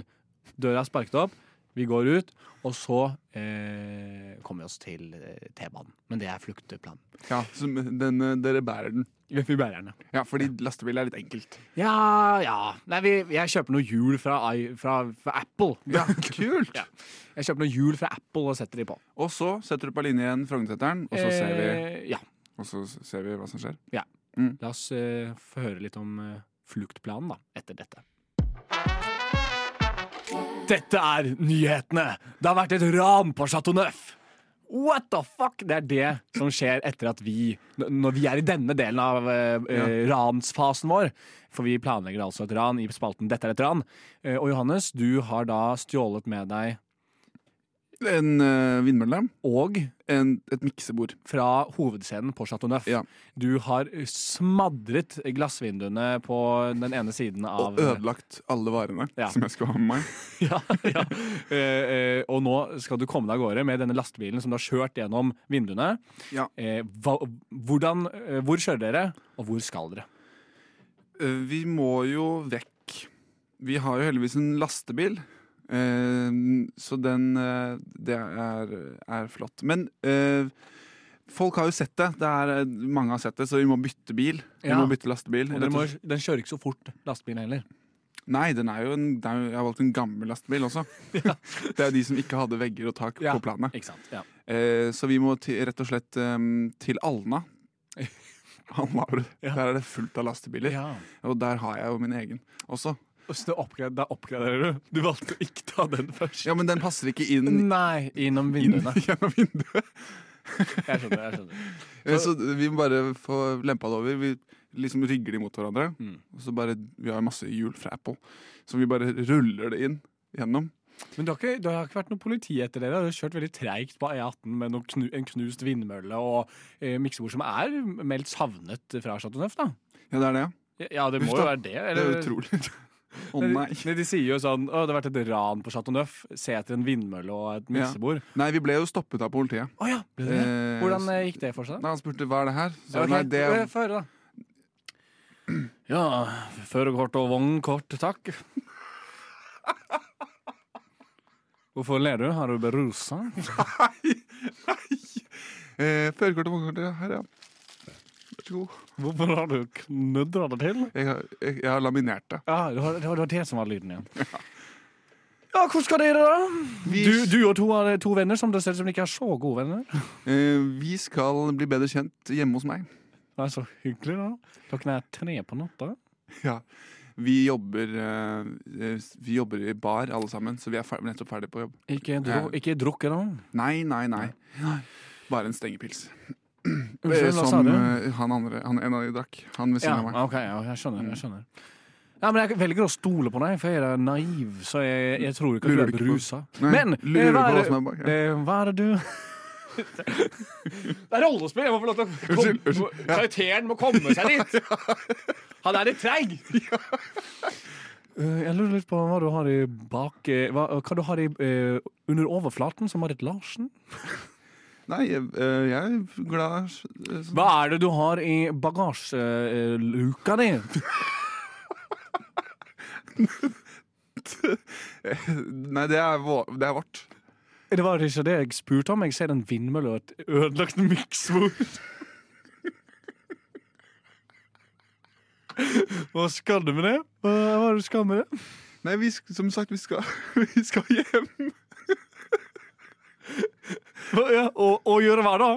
[SPEAKER 1] Døra er sparket opp, vi går ut, og så eh, kommer vi oss til eh, T-banen. Men det er flukteplanen.
[SPEAKER 2] ikke. ja så den, eh, dere bærer den.
[SPEAKER 1] Vi bærer den, ja.
[SPEAKER 2] Ja, fordi lastebil er litt enkelt.
[SPEAKER 1] Ja, ja. Nei, vi, jeg kjøper noe hjul fra, i- fra, fra Apple.
[SPEAKER 2] Ja, <laughs> kult!
[SPEAKER 1] Ja. Jeg kjøper noe hjul fra Apple og setter de på.
[SPEAKER 2] Og så setter du på linje igjen Frognerseteren, og, så ser vi-
[SPEAKER 1] Eh, ja.
[SPEAKER 2] og så ser vi hva som skjer.
[SPEAKER 1] La oss eh, få høre litt om eh, fluktplanen da, etter dette. Dette er nyhetene! Det har vært et ran på Chateau Neuf! What the fuck? Det er det som skjer etter at vi n- Når vi er i denne delen av eh, eh, ransfasen vår. For vi planlegger altså et ran i spalten 'Dette er et ran'. Eh, og Johannes, du har da stjålet med deg
[SPEAKER 2] En eh, vindmølle.
[SPEAKER 1] og
[SPEAKER 2] En, et miksebord.
[SPEAKER 1] fra hovedscenen på Chateau Neuf.
[SPEAKER 2] Ja.
[SPEAKER 1] Du har smadret glassvinduene på den ene siden av
[SPEAKER 2] Og ødelagt alle varene
[SPEAKER 1] Ja.
[SPEAKER 2] som jeg skulle ha med meg.
[SPEAKER 1] <laughs> ja, ja. Eh, eh, og nå skal du komme deg av gårde med denne lastebilen som du har kjørt gjennom vinduene.
[SPEAKER 2] Ja.
[SPEAKER 1] Eh, hva, hvordan, eh, hvor kjører dere, og hvor skal dere?
[SPEAKER 2] Eh, Vi må jo vekk. Vi har jo heldigvis en lastebil. eh, Så den eh, Det er, er flott. Men eh, folk har jo sett det. det er, mange har sett det, så vi må bytte bil. Vi
[SPEAKER 1] Ja.
[SPEAKER 2] må bytte lastebil.
[SPEAKER 1] Og
[SPEAKER 2] rett
[SPEAKER 1] dere
[SPEAKER 2] og
[SPEAKER 1] må,
[SPEAKER 2] slett.
[SPEAKER 1] den kjører ikke så fort, lastebilen heller.
[SPEAKER 2] Nei, den er jo en, det er jo- jeg har valgt en gammel lastebil
[SPEAKER 1] <laughs>
[SPEAKER 2] også. Det er jo de som ikke hadde vegger og tak
[SPEAKER 1] Ja.
[SPEAKER 2] på planet.
[SPEAKER 1] Ikke sant? Ja.
[SPEAKER 2] Eh, Så vi må til, rett og slett eh, til
[SPEAKER 1] <laughs>
[SPEAKER 2] Alna. Alna,
[SPEAKER 1] Ja.
[SPEAKER 2] Der er det fullt av lastebiler. Og der har jeg jo min egen også.
[SPEAKER 1] Og Så det oppgrader- da oppgraderer du. Du valgte å ikke ta den først.
[SPEAKER 2] Ja, men den passer ikke inn
[SPEAKER 1] Nei, innom
[SPEAKER 2] inn
[SPEAKER 1] vinduene.
[SPEAKER 2] <laughs> gjennom
[SPEAKER 1] <laughs>
[SPEAKER 2] vinduet.
[SPEAKER 1] Jeg skjønner. jeg skjønner
[SPEAKER 2] Eh, Så vi må bare få lempa det over. Vi liksom rygger de mot hverandre.
[SPEAKER 1] Mm.
[SPEAKER 2] Og så bare, Vi har masse hjul fra Apple, så vi bare ruller det inn gjennom.
[SPEAKER 1] Men det har, ikke, det har ikke vært noe politi etter dere. Dere har kjørt veldig treigt på E18 med noen knu, en knust vindmølle og eh, miksebord som er meldt savnet fra Chateau Neuf, da.
[SPEAKER 2] Ja, det er det, ja.
[SPEAKER 1] Ja, det må
[SPEAKER 2] Uff da.
[SPEAKER 1] jo være det.
[SPEAKER 2] Det
[SPEAKER 1] Eller?
[SPEAKER 2] er utrolig.
[SPEAKER 1] <laughs>
[SPEAKER 2] Å nei.
[SPEAKER 1] Nei, de sier jo sånn Å, det har vært et ran på Chateau Neuf. Se etter en vindmølle og et
[SPEAKER 2] Ja.
[SPEAKER 1] miksebord.
[SPEAKER 2] Nei, vi ble jo stoppet av politiet.
[SPEAKER 1] Å ja! Ble det det?
[SPEAKER 2] Eh,
[SPEAKER 1] Hvordan eh, gikk det for seg?
[SPEAKER 2] Nei, Han spurte hva er det her. Så,
[SPEAKER 1] Ok,
[SPEAKER 2] nei, det,
[SPEAKER 1] eh, Få
[SPEAKER 2] <clears throat>
[SPEAKER 1] høre, da. Ja, førerkort og vognkort, takk. <laughs> Hvorfor ler du? Har du berusa?
[SPEAKER 2] <laughs> eh, Førerkort og vognkort ja, her, ja. Vær så god.
[SPEAKER 1] Hvorfor har du knudra det til?
[SPEAKER 2] Jeg har, jeg, jeg har laminert det. <laughs>
[SPEAKER 1] Ja, det var det, var det som var lyden igjen. Ja. Ja, hvordan skal dere da?
[SPEAKER 2] Vi,
[SPEAKER 1] Du, du og to, har- to venner som dere ser ut som dere ikke er så gode venner.
[SPEAKER 2] eh, vi skal bli bedre kjent hjemme hos meg.
[SPEAKER 1] Det er så hyggelig, da. Klokken er tre på natta.
[SPEAKER 2] Ja. Vi jobber, eh, eh, vi jobber i bar alle sammen, så vi er fer nettopp ferdig på jobb.
[SPEAKER 1] Ikke,
[SPEAKER 2] dro-
[SPEAKER 1] ikke drukket, da.
[SPEAKER 2] Nei, nei, nei. Bare en stengepils. Eh,
[SPEAKER 1] Unnskyld, hva sa
[SPEAKER 2] Som
[SPEAKER 1] du?
[SPEAKER 2] eh, han andre, han en av de drakk. Han ved
[SPEAKER 1] Ja,
[SPEAKER 2] siden av meg.
[SPEAKER 1] ok, ja, jeg skjønner.
[SPEAKER 2] Mm.
[SPEAKER 1] jeg skjønner ja, men Jeg velger å stole på deg, for jeg er naiv. Så jeg, jeg tror ikke at du
[SPEAKER 2] Lurer
[SPEAKER 1] er
[SPEAKER 2] du ikke på-
[SPEAKER 1] berusa.
[SPEAKER 2] Nei,
[SPEAKER 1] Men
[SPEAKER 2] lurer
[SPEAKER 1] eh, hva
[SPEAKER 2] på
[SPEAKER 1] er
[SPEAKER 2] hva som er bak, ja.
[SPEAKER 1] eh, Hva er det du <laughs> Det er rollespill! Jeg må få lov til å
[SPEAKER 2] <laughs> Unnskyld, unnskyld. Ja.
[SPEAKER 1] Karakteren må komme
[SPEAKER 2] <laughs>
[SPEAKER 1] seg dit! Han er litt treig! Eh, Jeg lurer litt på hva du har i bak eh, Hva, hva du har i, eh, under overflaten, som Marit Larsen?
[SPEAKER 2] Nei, jeg, eh, jeg er glad eh,
[SPEAKER 1] Hva er det du har i bagasjeluka di?
[SPEAKER 2] <laughs> Nei, det er, vår, det er vårt.
[SPEAKER 1] <laughs> Det var ikke det jeg spurte om. Jeg ser en vindmølle og et ødelagt <laughs> miksbord. Hva skal du med det? Hva hva er det du skal med det?
[SPEAKER 2] Nei, vi, sk- som sagt, vi skal, <laughs> vi skal hjem.
[SPEAKER 1] Hva- ja, Og, og gjøre hva da?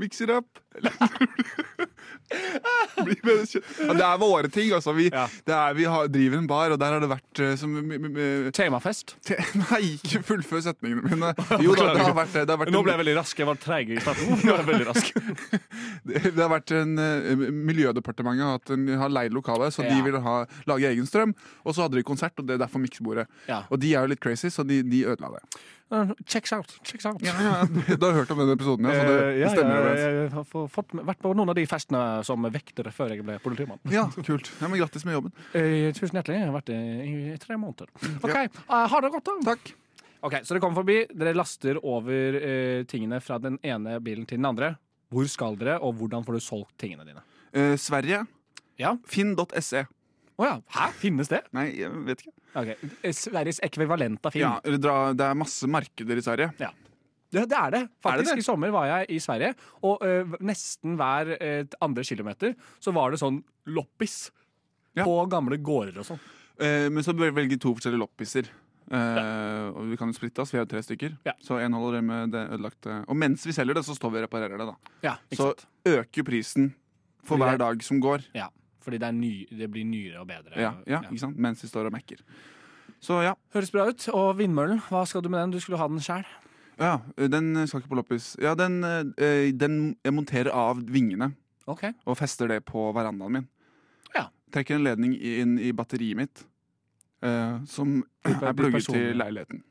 [SPEAKER 2] Mix it up. Bli bedre kjent. Ja, det er våre ting, altså. Vi,
[SPEAKER 1] Ja.
[SPEAKER 2] det er, vi har, driver en bar, og der har det vært eh, som, m, m, m,
[SPEAKER 1] Temafest.
[SPEAKER 2] te, <laughs> Nei, ikke fullfør setningene mine. Jo da, det har vært, det har vært,
[SPEAKER 1] <laughs> Nå ble jeg
[SPEAKER 2] en,
[SPEAKER 1] veldig rask. Jeg var treig i starten. <laughs> Nå ble jeg veldig rask.
[SPEAKER 2] <laughs> det har vært en eh, Miljødepartementet har, hatt en, har leid lokalet, så
[SPEAKER 1] Ja.
[SPEAKER 2] de ville ha, lage egen strøm. Og så hadde de konsert, og det er derfor miksebordet.
[SPEAKER 1] Ja. Uh,
[SPEAKER 2] Og de er jo litt crazy, så de, de ødela det.
[SPEAKER 1] Checks out. Checks out.
[SPEAKER 2] Ja, ja, <laughs> Du har hørt om den episoden, ja? Så det,
[SPEAKER 1] Eh,
[SPEAKER 2] det stemmer.
[SPEAKER 1] ja,
[SPEAKER 2] overens.
[SPEAKER 1] jeg, jeg har fått- fått, vært på noen av de festene som vektere før jeg ble politimann.
[SPEAKER 2] Ja, kult. Ja, men Grattis med jobben.
[SPEAKER 1] Eh, tusen hjertelig. Jeg har vært det i, i tre måneder. Ok, eh, Ha det godt, da.
[SPEAKER 2] Takk.
[SPEAKER 1] Ok, Så dere kommer forbi. Dere laster over eh, tingene fra den ene bilen til den andre. Hvor skal dere, og hvordan får du solgt tingene dine?
[SPEAKER 2] Eh, Sverige.
[SPEAKER 1] Ja.
[SPEAKER 2] Finn.se.
[SPEAKER 1] Å ja. Hæ? Finnes det?
[SPEAKER 2] Nei, jeg vet ikke.
[SPEAKER 1] Ok, eh, Sveriges ekvivalent av Finn.
[SPEAKER 2] Ja, eller dra, det er masse markeder i Sverige.
[SPEAKER 1] Det, det er det. Faktisk,
[SPEAKER 2] det?
[SPEAKER 1] I sommer var jeg i Sverige, og eh, nesten hver eh, andre kilometer så var det sånn loppis.
[SPEAKER 2] Ja.
[SPEAKER 1] På gamle gårder og sånn.
[SPEAKER 2] Eh, men så bør vi velge to forskjellige loppiser. Eh, Og vi kan jo splitte oss, vi er jo tre stykker.
[SPEAKER 1] Ja.
[SPEAKER 2] Så en holder det med det ødelagte. Og mens vi selger det, så står vi og reparerer det. da
[SPEAKER 1] Ja, ikke
[SPEAKER 2] Så
[SPEAKER 1] sant?
[SPEAKER 2] øker jo prisen for
[SPEAKER 1] Fordi
[SPEAKER 2] hver
[SPEAKER 1] det-
[SPEAKER 2] dag som går.
[SPEAKER 1] Ja, fordi det, er ny, det blir nyere og bedre.
[SPEAKER 2] Ja, ja,
[SPEAKER 1] Ja.
[SPEAKER 2] ikke sant? Mens vi står og mekker. Så ja.
[SPEAKER 1] Høres bra ut. Og vindmøllen, hva skal du med den? Du skulle ha den sjæl.
[SPEAKER 2] ja. Den skal ikke på loppis. Ja, den, eh, den Jeg monterer av vingene.
[SPEAKER 1] Ok.
[SPEAKER 2] og fester det på verandaen min.
[SPEAKER 1] Ja.
[SPEAKER 2] Trekker en ledning inn i batteriet mitt, eh, som
[SPEAKER 1] Blir-
[SPEAKER 2] er
[SPEAKER 1] blir
[SPEAKER 2] plugget
[SPEAKER 1] personlig.
[SPEAKER 2] til leiligheten.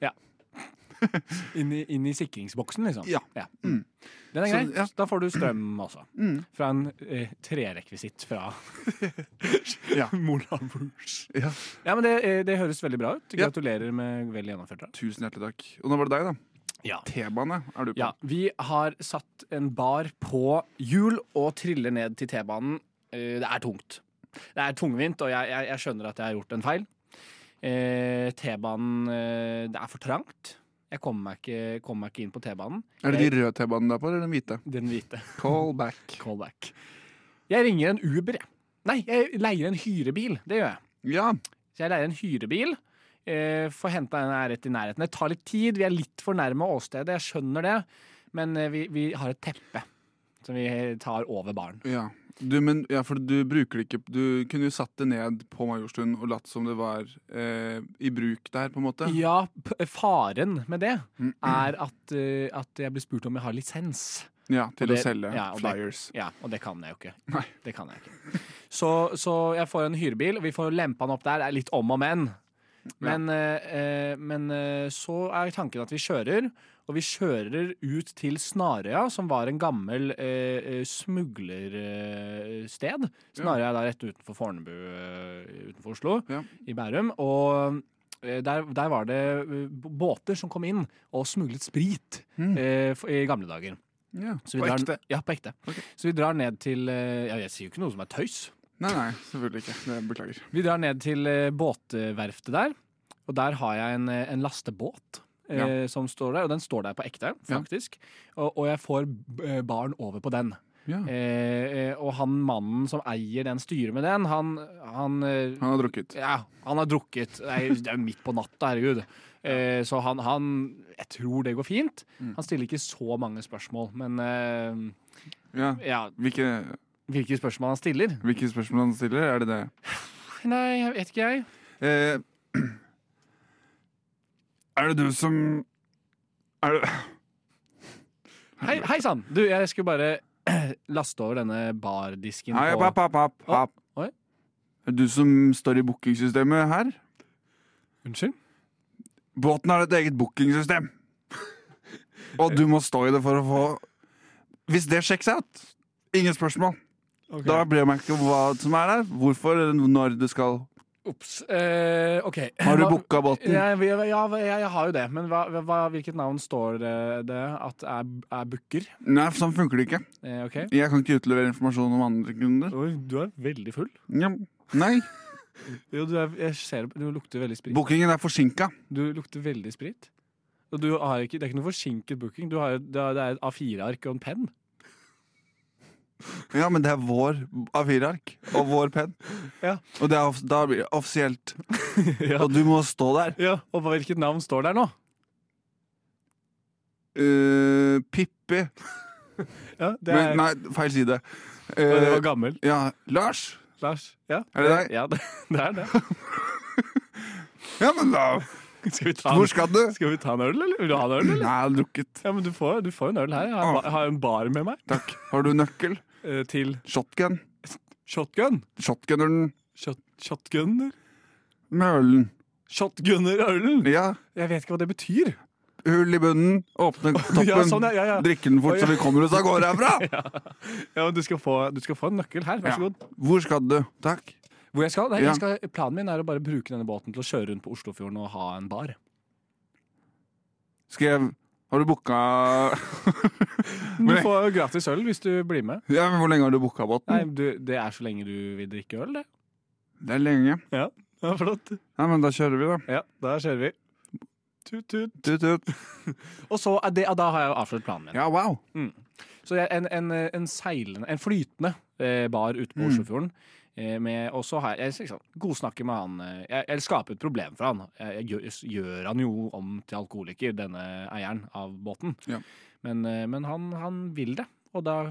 [SPEAKER 1] Inn i, inn i sikringsboksen, liksom?
[SPEAKER 2] Ja. Mm.
[SPEAKER 1] Den er
[SPEAKER 2] Så,
[SPEAKER 1] grei.
[SPEAKER 2] ja.
[SPEAKER 1] Da får du strøm også.
[SPEAKER 2] Mm.
[SPEAKER 1] Fra en eh, trerekvisitt fra <laughs>
[SPEAKER 2] <laughs> Ja.
[SPEAKER 1] Moulin Rouge.
[SPEAKER 2] Ja.
[SPEAKER 1] Ja, men det, eh, det høres veldig bra ut.
[SPEAKER 2] Ja.
[SPEAKER 1] Gratulerer med vel gjennomført. da.
[SPEAKER 2] Tusen hjertelig takk. Og nå var det deg, da.
[SPEAKER 1] Ja.
[SPEAKER 2] T-bane er du på.
[SPEAKER 1] Ja, vi har satt en bar på hjul og triller ned til T-banen. Eh, Det er tungt. Det er tungvint, og jeg, jeg, jeg skjønner at jeg har gjort en feil. Eh, T-banen eh, Det er for trangt. Jeg kommer meg ikke, kommer meg ikke inn på T-banen.
[SPEAKER 2] Er det de røde T-banene du er på, eller den hvite?
[SPEAKER 1] Den hvite.
[SPEAKER 2] Call back.
[SPEAKER 1] Callback. Jeg ringer en Uber, jeg. Nei, jeg leier en hyrebil. Det gjør jeg.
[SPEAKER 2] Ja.
[SPEAKER 1] Så jeg leier en hyrebil. Eh, får henta en her rett i nærheten. Det tar litt tid. Vi er litt for nærme åstedet, jeg skjønner det. Men eh, vi, vi har et teppe som vi tar over baren.
[SPEAKER 2] ja. Du, men, ja, for du bruker det ikke Du kunne jo satt det ned på Majorstuen og latt som det var eh, i bruk der, på en måte.
[SPEAKER 1] Ja, p faren med det er at, eh, at jeg blir spurt om jeg har lisens.
[SPEAKER 2] Ja, Til
[SPEAKER 1] Og det-
[SPEAKER 2] å selge
[SPEAKER 1] ja, og det-
[SPEAKER 2] flyers.
[SPEAKER 1] Ja, og det kan jeg jo ikke.
[SPEAKER 2] Nei.
[SPEAKER 1] Det kan jeg ikke. Så, så jeg får en hyrebil, og vi får lempa den opp der. Det er litt om og men. Men, eh, eh, men eh, så er tanken at vi kjører, og vi kjører ut til Snarøya, som var en gammel eh, eh, smuglersted. Snarøya er da rett utenfor Fornebu, eh, utenfor Oslo,
[SPEAKER 2] Ja.
[SPEAKER 1] i Bærum. Og eh, der, der var det eh, båter som kom inn og smuglet sprit
[SPEAKER 2] Mm.
[SPEAKER 1] eh, f- i gamle dager.
[SPEAKER 2] Ja,
[SPEAKER 1] Så vi
[SPEAKER 2] På
[SPEAKER 1] drar-
[SPEAKER 2] ekte.
[SPEAKER 1] Ja, på ekte.
[SPEAKER 2] Ok.
[SPEAKER 1] Så vi drar ned til eh, Ja, jeg sier jo ikke noe som er tøys.
[SPEAKER 2] Nei, nei, selvfølgelig ikke. Det beklager.
[SPEAKER 1] Vi drar ned til eh, båtverftet der, og der har jeg en, eh, en lastebåt. eh, Som står der, og den står der på ekte, faktisk. Og, og jeg får b- eh, barn over på den.
[SPEAKER 2] Ja.
[SPEAKER 1] Eh, eh, og han mannen som eier den, styrer med den, han, han eh,
[SPEAKER 2] Han har drukket.
[SPEAKER 1] ja, han har drukket. Det er, det er jo midt på natta,
[SPEAKER 2] <laughs>
[SPEAKER 1] herregud. Eh, så han, han Jeg tror det går fint.
[SPEAKER 2] Mm.
[SPEAKER 1] Han stiller ikke så mange spørsmål, men eh,
[SPEAKER 2] Ja.
[SPEAKER 1] ja,
[SPEAKER 2] Hvilke,
[SPEAKER 1] hvilke spørsmål han stiller?
[SPEAKER 2] hvilke spørsmål han stiller, er det det?
[SPEAKER 1] Nei, jeg vet ikke, jeg.
[SPEAKER 2] Eh, <clears throat> er det du som Er det
[SPEAKER 1] Hei, hei sann! Du, jeg skulle bare <clears throat> laste over denne bardisken
[SPEAKER 2] Hei,
[SPEAKER 1] på
[SPEAKER 2] papp, papp, papp, papp.
[SPEAKER 1] Oi.
[SPEAKER 2] Er det du som står i bookingsystemet her?
[SPEAKER 1] Unnskyld?
[SPEAKER 2] Båten har et eget bookingsystem. <laughs> Og du må stå i det for å få Hvis det sjekks out, ingen spørsmål. Da blir man ikke hva som er der. Hvorfor, eller når du skal
[SPEAKER 1] Ops. Eh, OK.
[SPEAKER 2] Har du
[SPEAKER 1] Hva-
[SPEAKER 2] booka båten?
[SPEAKER 1] Ja, vi- ja, jeg, jeg har jo det, men hva, hva, hvilket navn står det, det at er, er booker?
[SPEAKER 2] Nei, sånn funker det ikke.
[SPEAKER 1] Eh, OK?
[SPEAKER 2] Jeg kan ikke utlevere informasjon om andre kunder.
[SPEAKER 1] Oi, du er veldig full.
[SPEAKER 2] Ja. Nei,
[SPEAKER 1] Jo, du, er, jeg ser, du lukter veldig sprit.
[SPEAKER 2] bookingen er forsinka.
[SPEAKER 1] Du lukter veldig sprit. Og du har ikke, det er ikke noe forsinket booking. Du har, det er- det er et A4-ark og en penn.
[SPEAKER 2] Ja, men det er vår A4-ark og vår penn.
[SPEAKER 1] <laughs> Ja.
[SPEAKER 2] Og det er, off- da blir det offisielt.
[SPEAKER 1] <laughs> Ja.
[SPEAKER 2] Og du må stå der.
[SPEAKER 1] Ja, og hva- hvilket navn står der nå?
[SPEAKER 2] Eh, Pippi
[SPEAKER 1] Ja, det
[SPEAKER 2] Men,
[SPEAKER 1] er,
[SPEAKER 2] Nei, feil side.
[SPEAKER 1] og det
[SPEAKER 2] Eh,
[SPEAKER 1] var gammel.
[SPEAKER 2] ja, Lars.
[SPEAKER 1] Lars. Ja,
[SPEAKER 2] Er det deg?
[SPEAKER 1] Ja, det, <laughs> det er det.
[SPEAKER 2] Ja, men da
[SPEAKER 1] Skal vi ta en,
[SPEAKER 2] Hvor skal du?
[SPEAKER 1] skal vi ta en øl, eller? Vil du ha en øl,
[SPEAKER 2] Nei,
[SPEAKER 1] eller?
[SPEAKER 2] jeg har drukket.
[SPEAKER 1] Ja, men du får, du får en øl her. Jeg
[SPEAKER 2] Ah.
[SPEAKER 1] har, ba- jeg har en bar med meg
[SPEAKER 2] Takk. Har du nøkkel?
[SPEAKER 1] eh, til
[SPEAKER 2] Shotgun?
[SPEAKER 1] shotgun.
[SPEAKER 2] Shotgunneren
[SPEAKER 1] Shot, shotgunner?
[SPEAKER 2] med ølen.
[SPEAKER 1] Shotgunner-ølen?
[SPEAKER 2] Ja.
[SPEAKER 1] Jeg vet ikke hva det betyr. <laughs>
[SPEAKER 2] Hull i bunnen, åpne toppen,
[SPEAKER 1] Ja, sånn, ja, ja, ja.
[SPEAKER 2] drikke den fort
[SPEAKER 1] Å,
[SPEAKER 2] så
[SPEAKER 1] ja.
[SPEAKER 2] vi kommer oss av gårde herfra!
[SPEAKER 1] <laughs> Ja, men du skal få, du skal få en nøkkel her. Vær så
[SPEAKER 2] Ja.
[SPEAKER 1] god.
[SPEAKER 2] Hvor skal du? Takk.
[SPEAKER 1] Hvor jeg skal? Nei,
[SPEAKER 2] Ja.
[SPEAKER 1] jeg skal, planen min er å bare bruke denne båten til å kjøre rundt på Oslofjorden og ha en bar.
[SPEAKER 2] Skrev Har du booka <laughs>
[SPEAKER 1] Du får gratis øl hvis du blir med.
[SPEAKER 2] Ja, men Hvor lenge har du booka
[SPEAKER 1] Nei,
[SPEAKER 2] båten?
[SPEAKER 1] du, Det er så lenge du vil drikke øl, det.
[SPEAKER 2] Det er lenge.
[SPEAKER 1] Ja, flott.
[SPEAKER 2] Nei, men da kjører vi, da.
[SPEAKER 1] Ja, da kjører vi. Tut, tut.
[SPEAKER 2] Tut, tut.
[SPEAKER 1] Og så er det, ja, da har jeg jo avslørt planen min.
[SPEAKER 2] Ja, wow.
[SPEAKER 1] Så jeg, en, en, en seilende, en flytende eh, bar ute på Oslofjorden. Eh, med, og så har jeg, jeg liksom, godsnakker med han eh, jeg, jeg skaper et problem for han. Jeg, jeg gjør, gjør han jo om til alkoholiker, denne eieren av båten.
[SPEAKER 2] Ja.
[SPEAKER 1] Men, eh, men han, han vil det. Og da,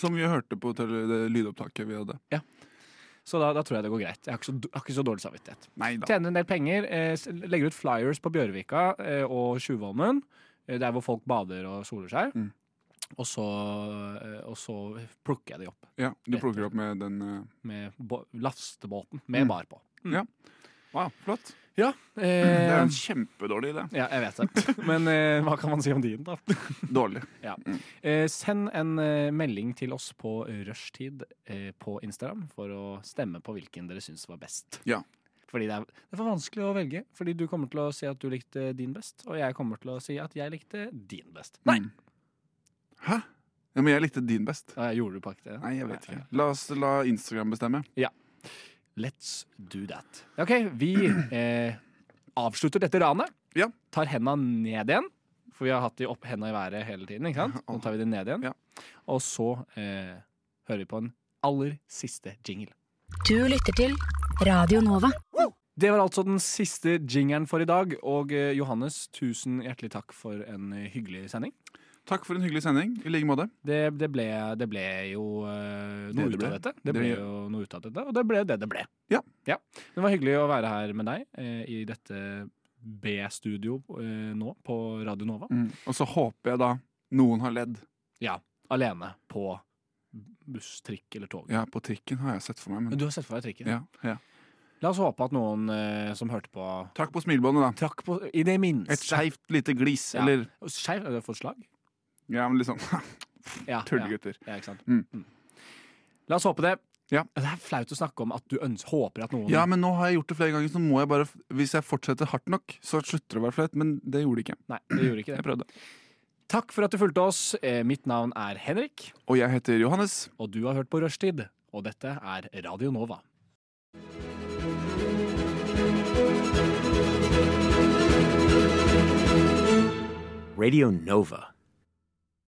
[SPEAKER 2] Som vi hørte på tele det lydopptaket vi hadde.
[SPEAKER 1] så da, da tror jeg det går greit. Jeg har ikke så, d- jeg har ikke så dårlig samvittighet.
[SPEAKER 2] Nei da.
[SPEAKER 1] Tjener en del penger, eh, s- legger ut flyers på Bjørvika eh, og Tjuvholmen, eh, der hvor folk bader og soler seg.
[SPEAKER 2] Mm.
[SPEAKER 1] Og, så, eh, og så plukker jeg de opp
[SPEAKER 2] Ja, Du plukker opp med den eh,
[SPEAKER 1] med bo- lastebåten med
[SPEAKER 2] Mm.
[SPEAKER 1] bar på.
[SPEAKER 2] Wow, flott.
[SPEAKER 1] Ja,
[SPEAKER 2] Det er
[SPEAKER 1] eh,
[SPEAKER 2] en kjempedårlig idé.
[SPEAKER 1] ja, jeg vet det.
[SPEAKER 2] <laughs>
[SPEAKER 1] Men eh, hva kan man si om din, da?
[SPEAKER 2] Dårlig.
[SPEAKER 1] Eh, send en eh, melding til oss på rushtid eh, på Instagram for å stemme på hvilken dere syns var best.
[SPEAKER 2] Ja.
[SPEAKER 1] Fordi det er, det er for vanskelig å velge, fordi du kommer til å si at du likte din best, og jeg kommer til å si at jeg likte din best. Nei!
[SPEAKER 2] Mm. Hæ? Ja, men jeg likte din best.
[SPEAKER 1] Ja, jeg gjorde du ikke det?
[SPEAKER 2] Nei, jeg vet ikke. La oss la Instagram bestemme.
[SPEAKER 1] Let's do that. Ok, vi eh, avslutter dette ranet.
[SPEAKER 2] Ja.
[SPEAKER 1] Tar henda ned igjen, for vi har hatt de opp henda i været hele tiden. ikke sant? Nå tar vi de ned igjen.
[SPEAKER 2] Ja.
[SPEAKER 1] Og så eh, hører vi på en aller siste jingle.
[SPEAKER 5] Du lytter til Radio Nova.
[SPEAKER 1] Det var altså den siste jingeren for i dag. Og eh, Johannes, tusen hjertelig takk for en eh, hyggelig sending.
[SPEAKER 2] Takk for en hyggelig sending. I like måte.
[SPEAKER 1] Det, det, ble, det ble jo eh, noe
[SPEAKER 2] Det
[SPEAKER 1] ut av
[SPEAKER 2] det ble.
[SPEAKER 1] dette. Det ble
[SPEAKER 2] Det-
[SPEAKER 1] jo noe ut av dette, og det ble det det ble.
[SPEAKER 2] Ja.
[SPEAKER 1] Det var hyggelig å være her med deg eh, i dette B-studio eh, nå på Radio Nova.
[SPEAKER 2] Mm. Og så håper jeg da noen har ledd.
[SPEAKER 1] Alene på buss, trikk eller tog.
[SPEAKER 2] Ja, på trikken har jeg sett for meg, men
[SPEAKER 1] Du har sett for deg trikken.
[SPEAKER 2] ja, ja.
[SPEAKER 1] La oss håpe at noen eh, som hørte på,
[SPEAKER 2] Takk på smilebåndet, da.
[SPEAKER 1] trakk på i det
[SPEAKER 2] Et
[SPEAKER 1] minste.
[SPEAKER 2] skeivt lite glis,
[SPEAKER 1] Ja.
[SPEAKER 2] eller
[SPEAKER 1] Skeiv? Har du fått slag?
[SPEAKER 2] Ja, men liksom <laughs>
[SPEAKER 1] Ja, ja.
[SPEAKER 2] Tullegutter.
[SPEAKER 1] Ja, ikke sant?
[SPEAKER 2] Mm.
[SPEAKER 1] Mm. La oss håpe det.
[SPEAKER 2] Ja.
[SPEAKER 1] Det er flaut å snakke om at du øns- håper at noen
[SPEAKER 2] Ja, men nå har jeg gjort det flere ganger, så må jeg bare Hvis jeg fortsetter hardt nok, så slutter det å være flaut, men det gjorde det ikke.
[SPEAKER 1] Nei, det gjorde ikke
[SPEAKER 2] Jeg
[SPEAKER 1] det.
[SPEAKER 2] prøvde.
[SPEAKER 1] Takk for at du fulgte oss. Eh, Mitt navn er Henrik,
[SPEAKER 2] Og jeg heter Johannes.
[SPEAKER 1] og du har hørt på Rushtid. Og dette er Radio Nova.
[SPEAKER 6] Radio Nova.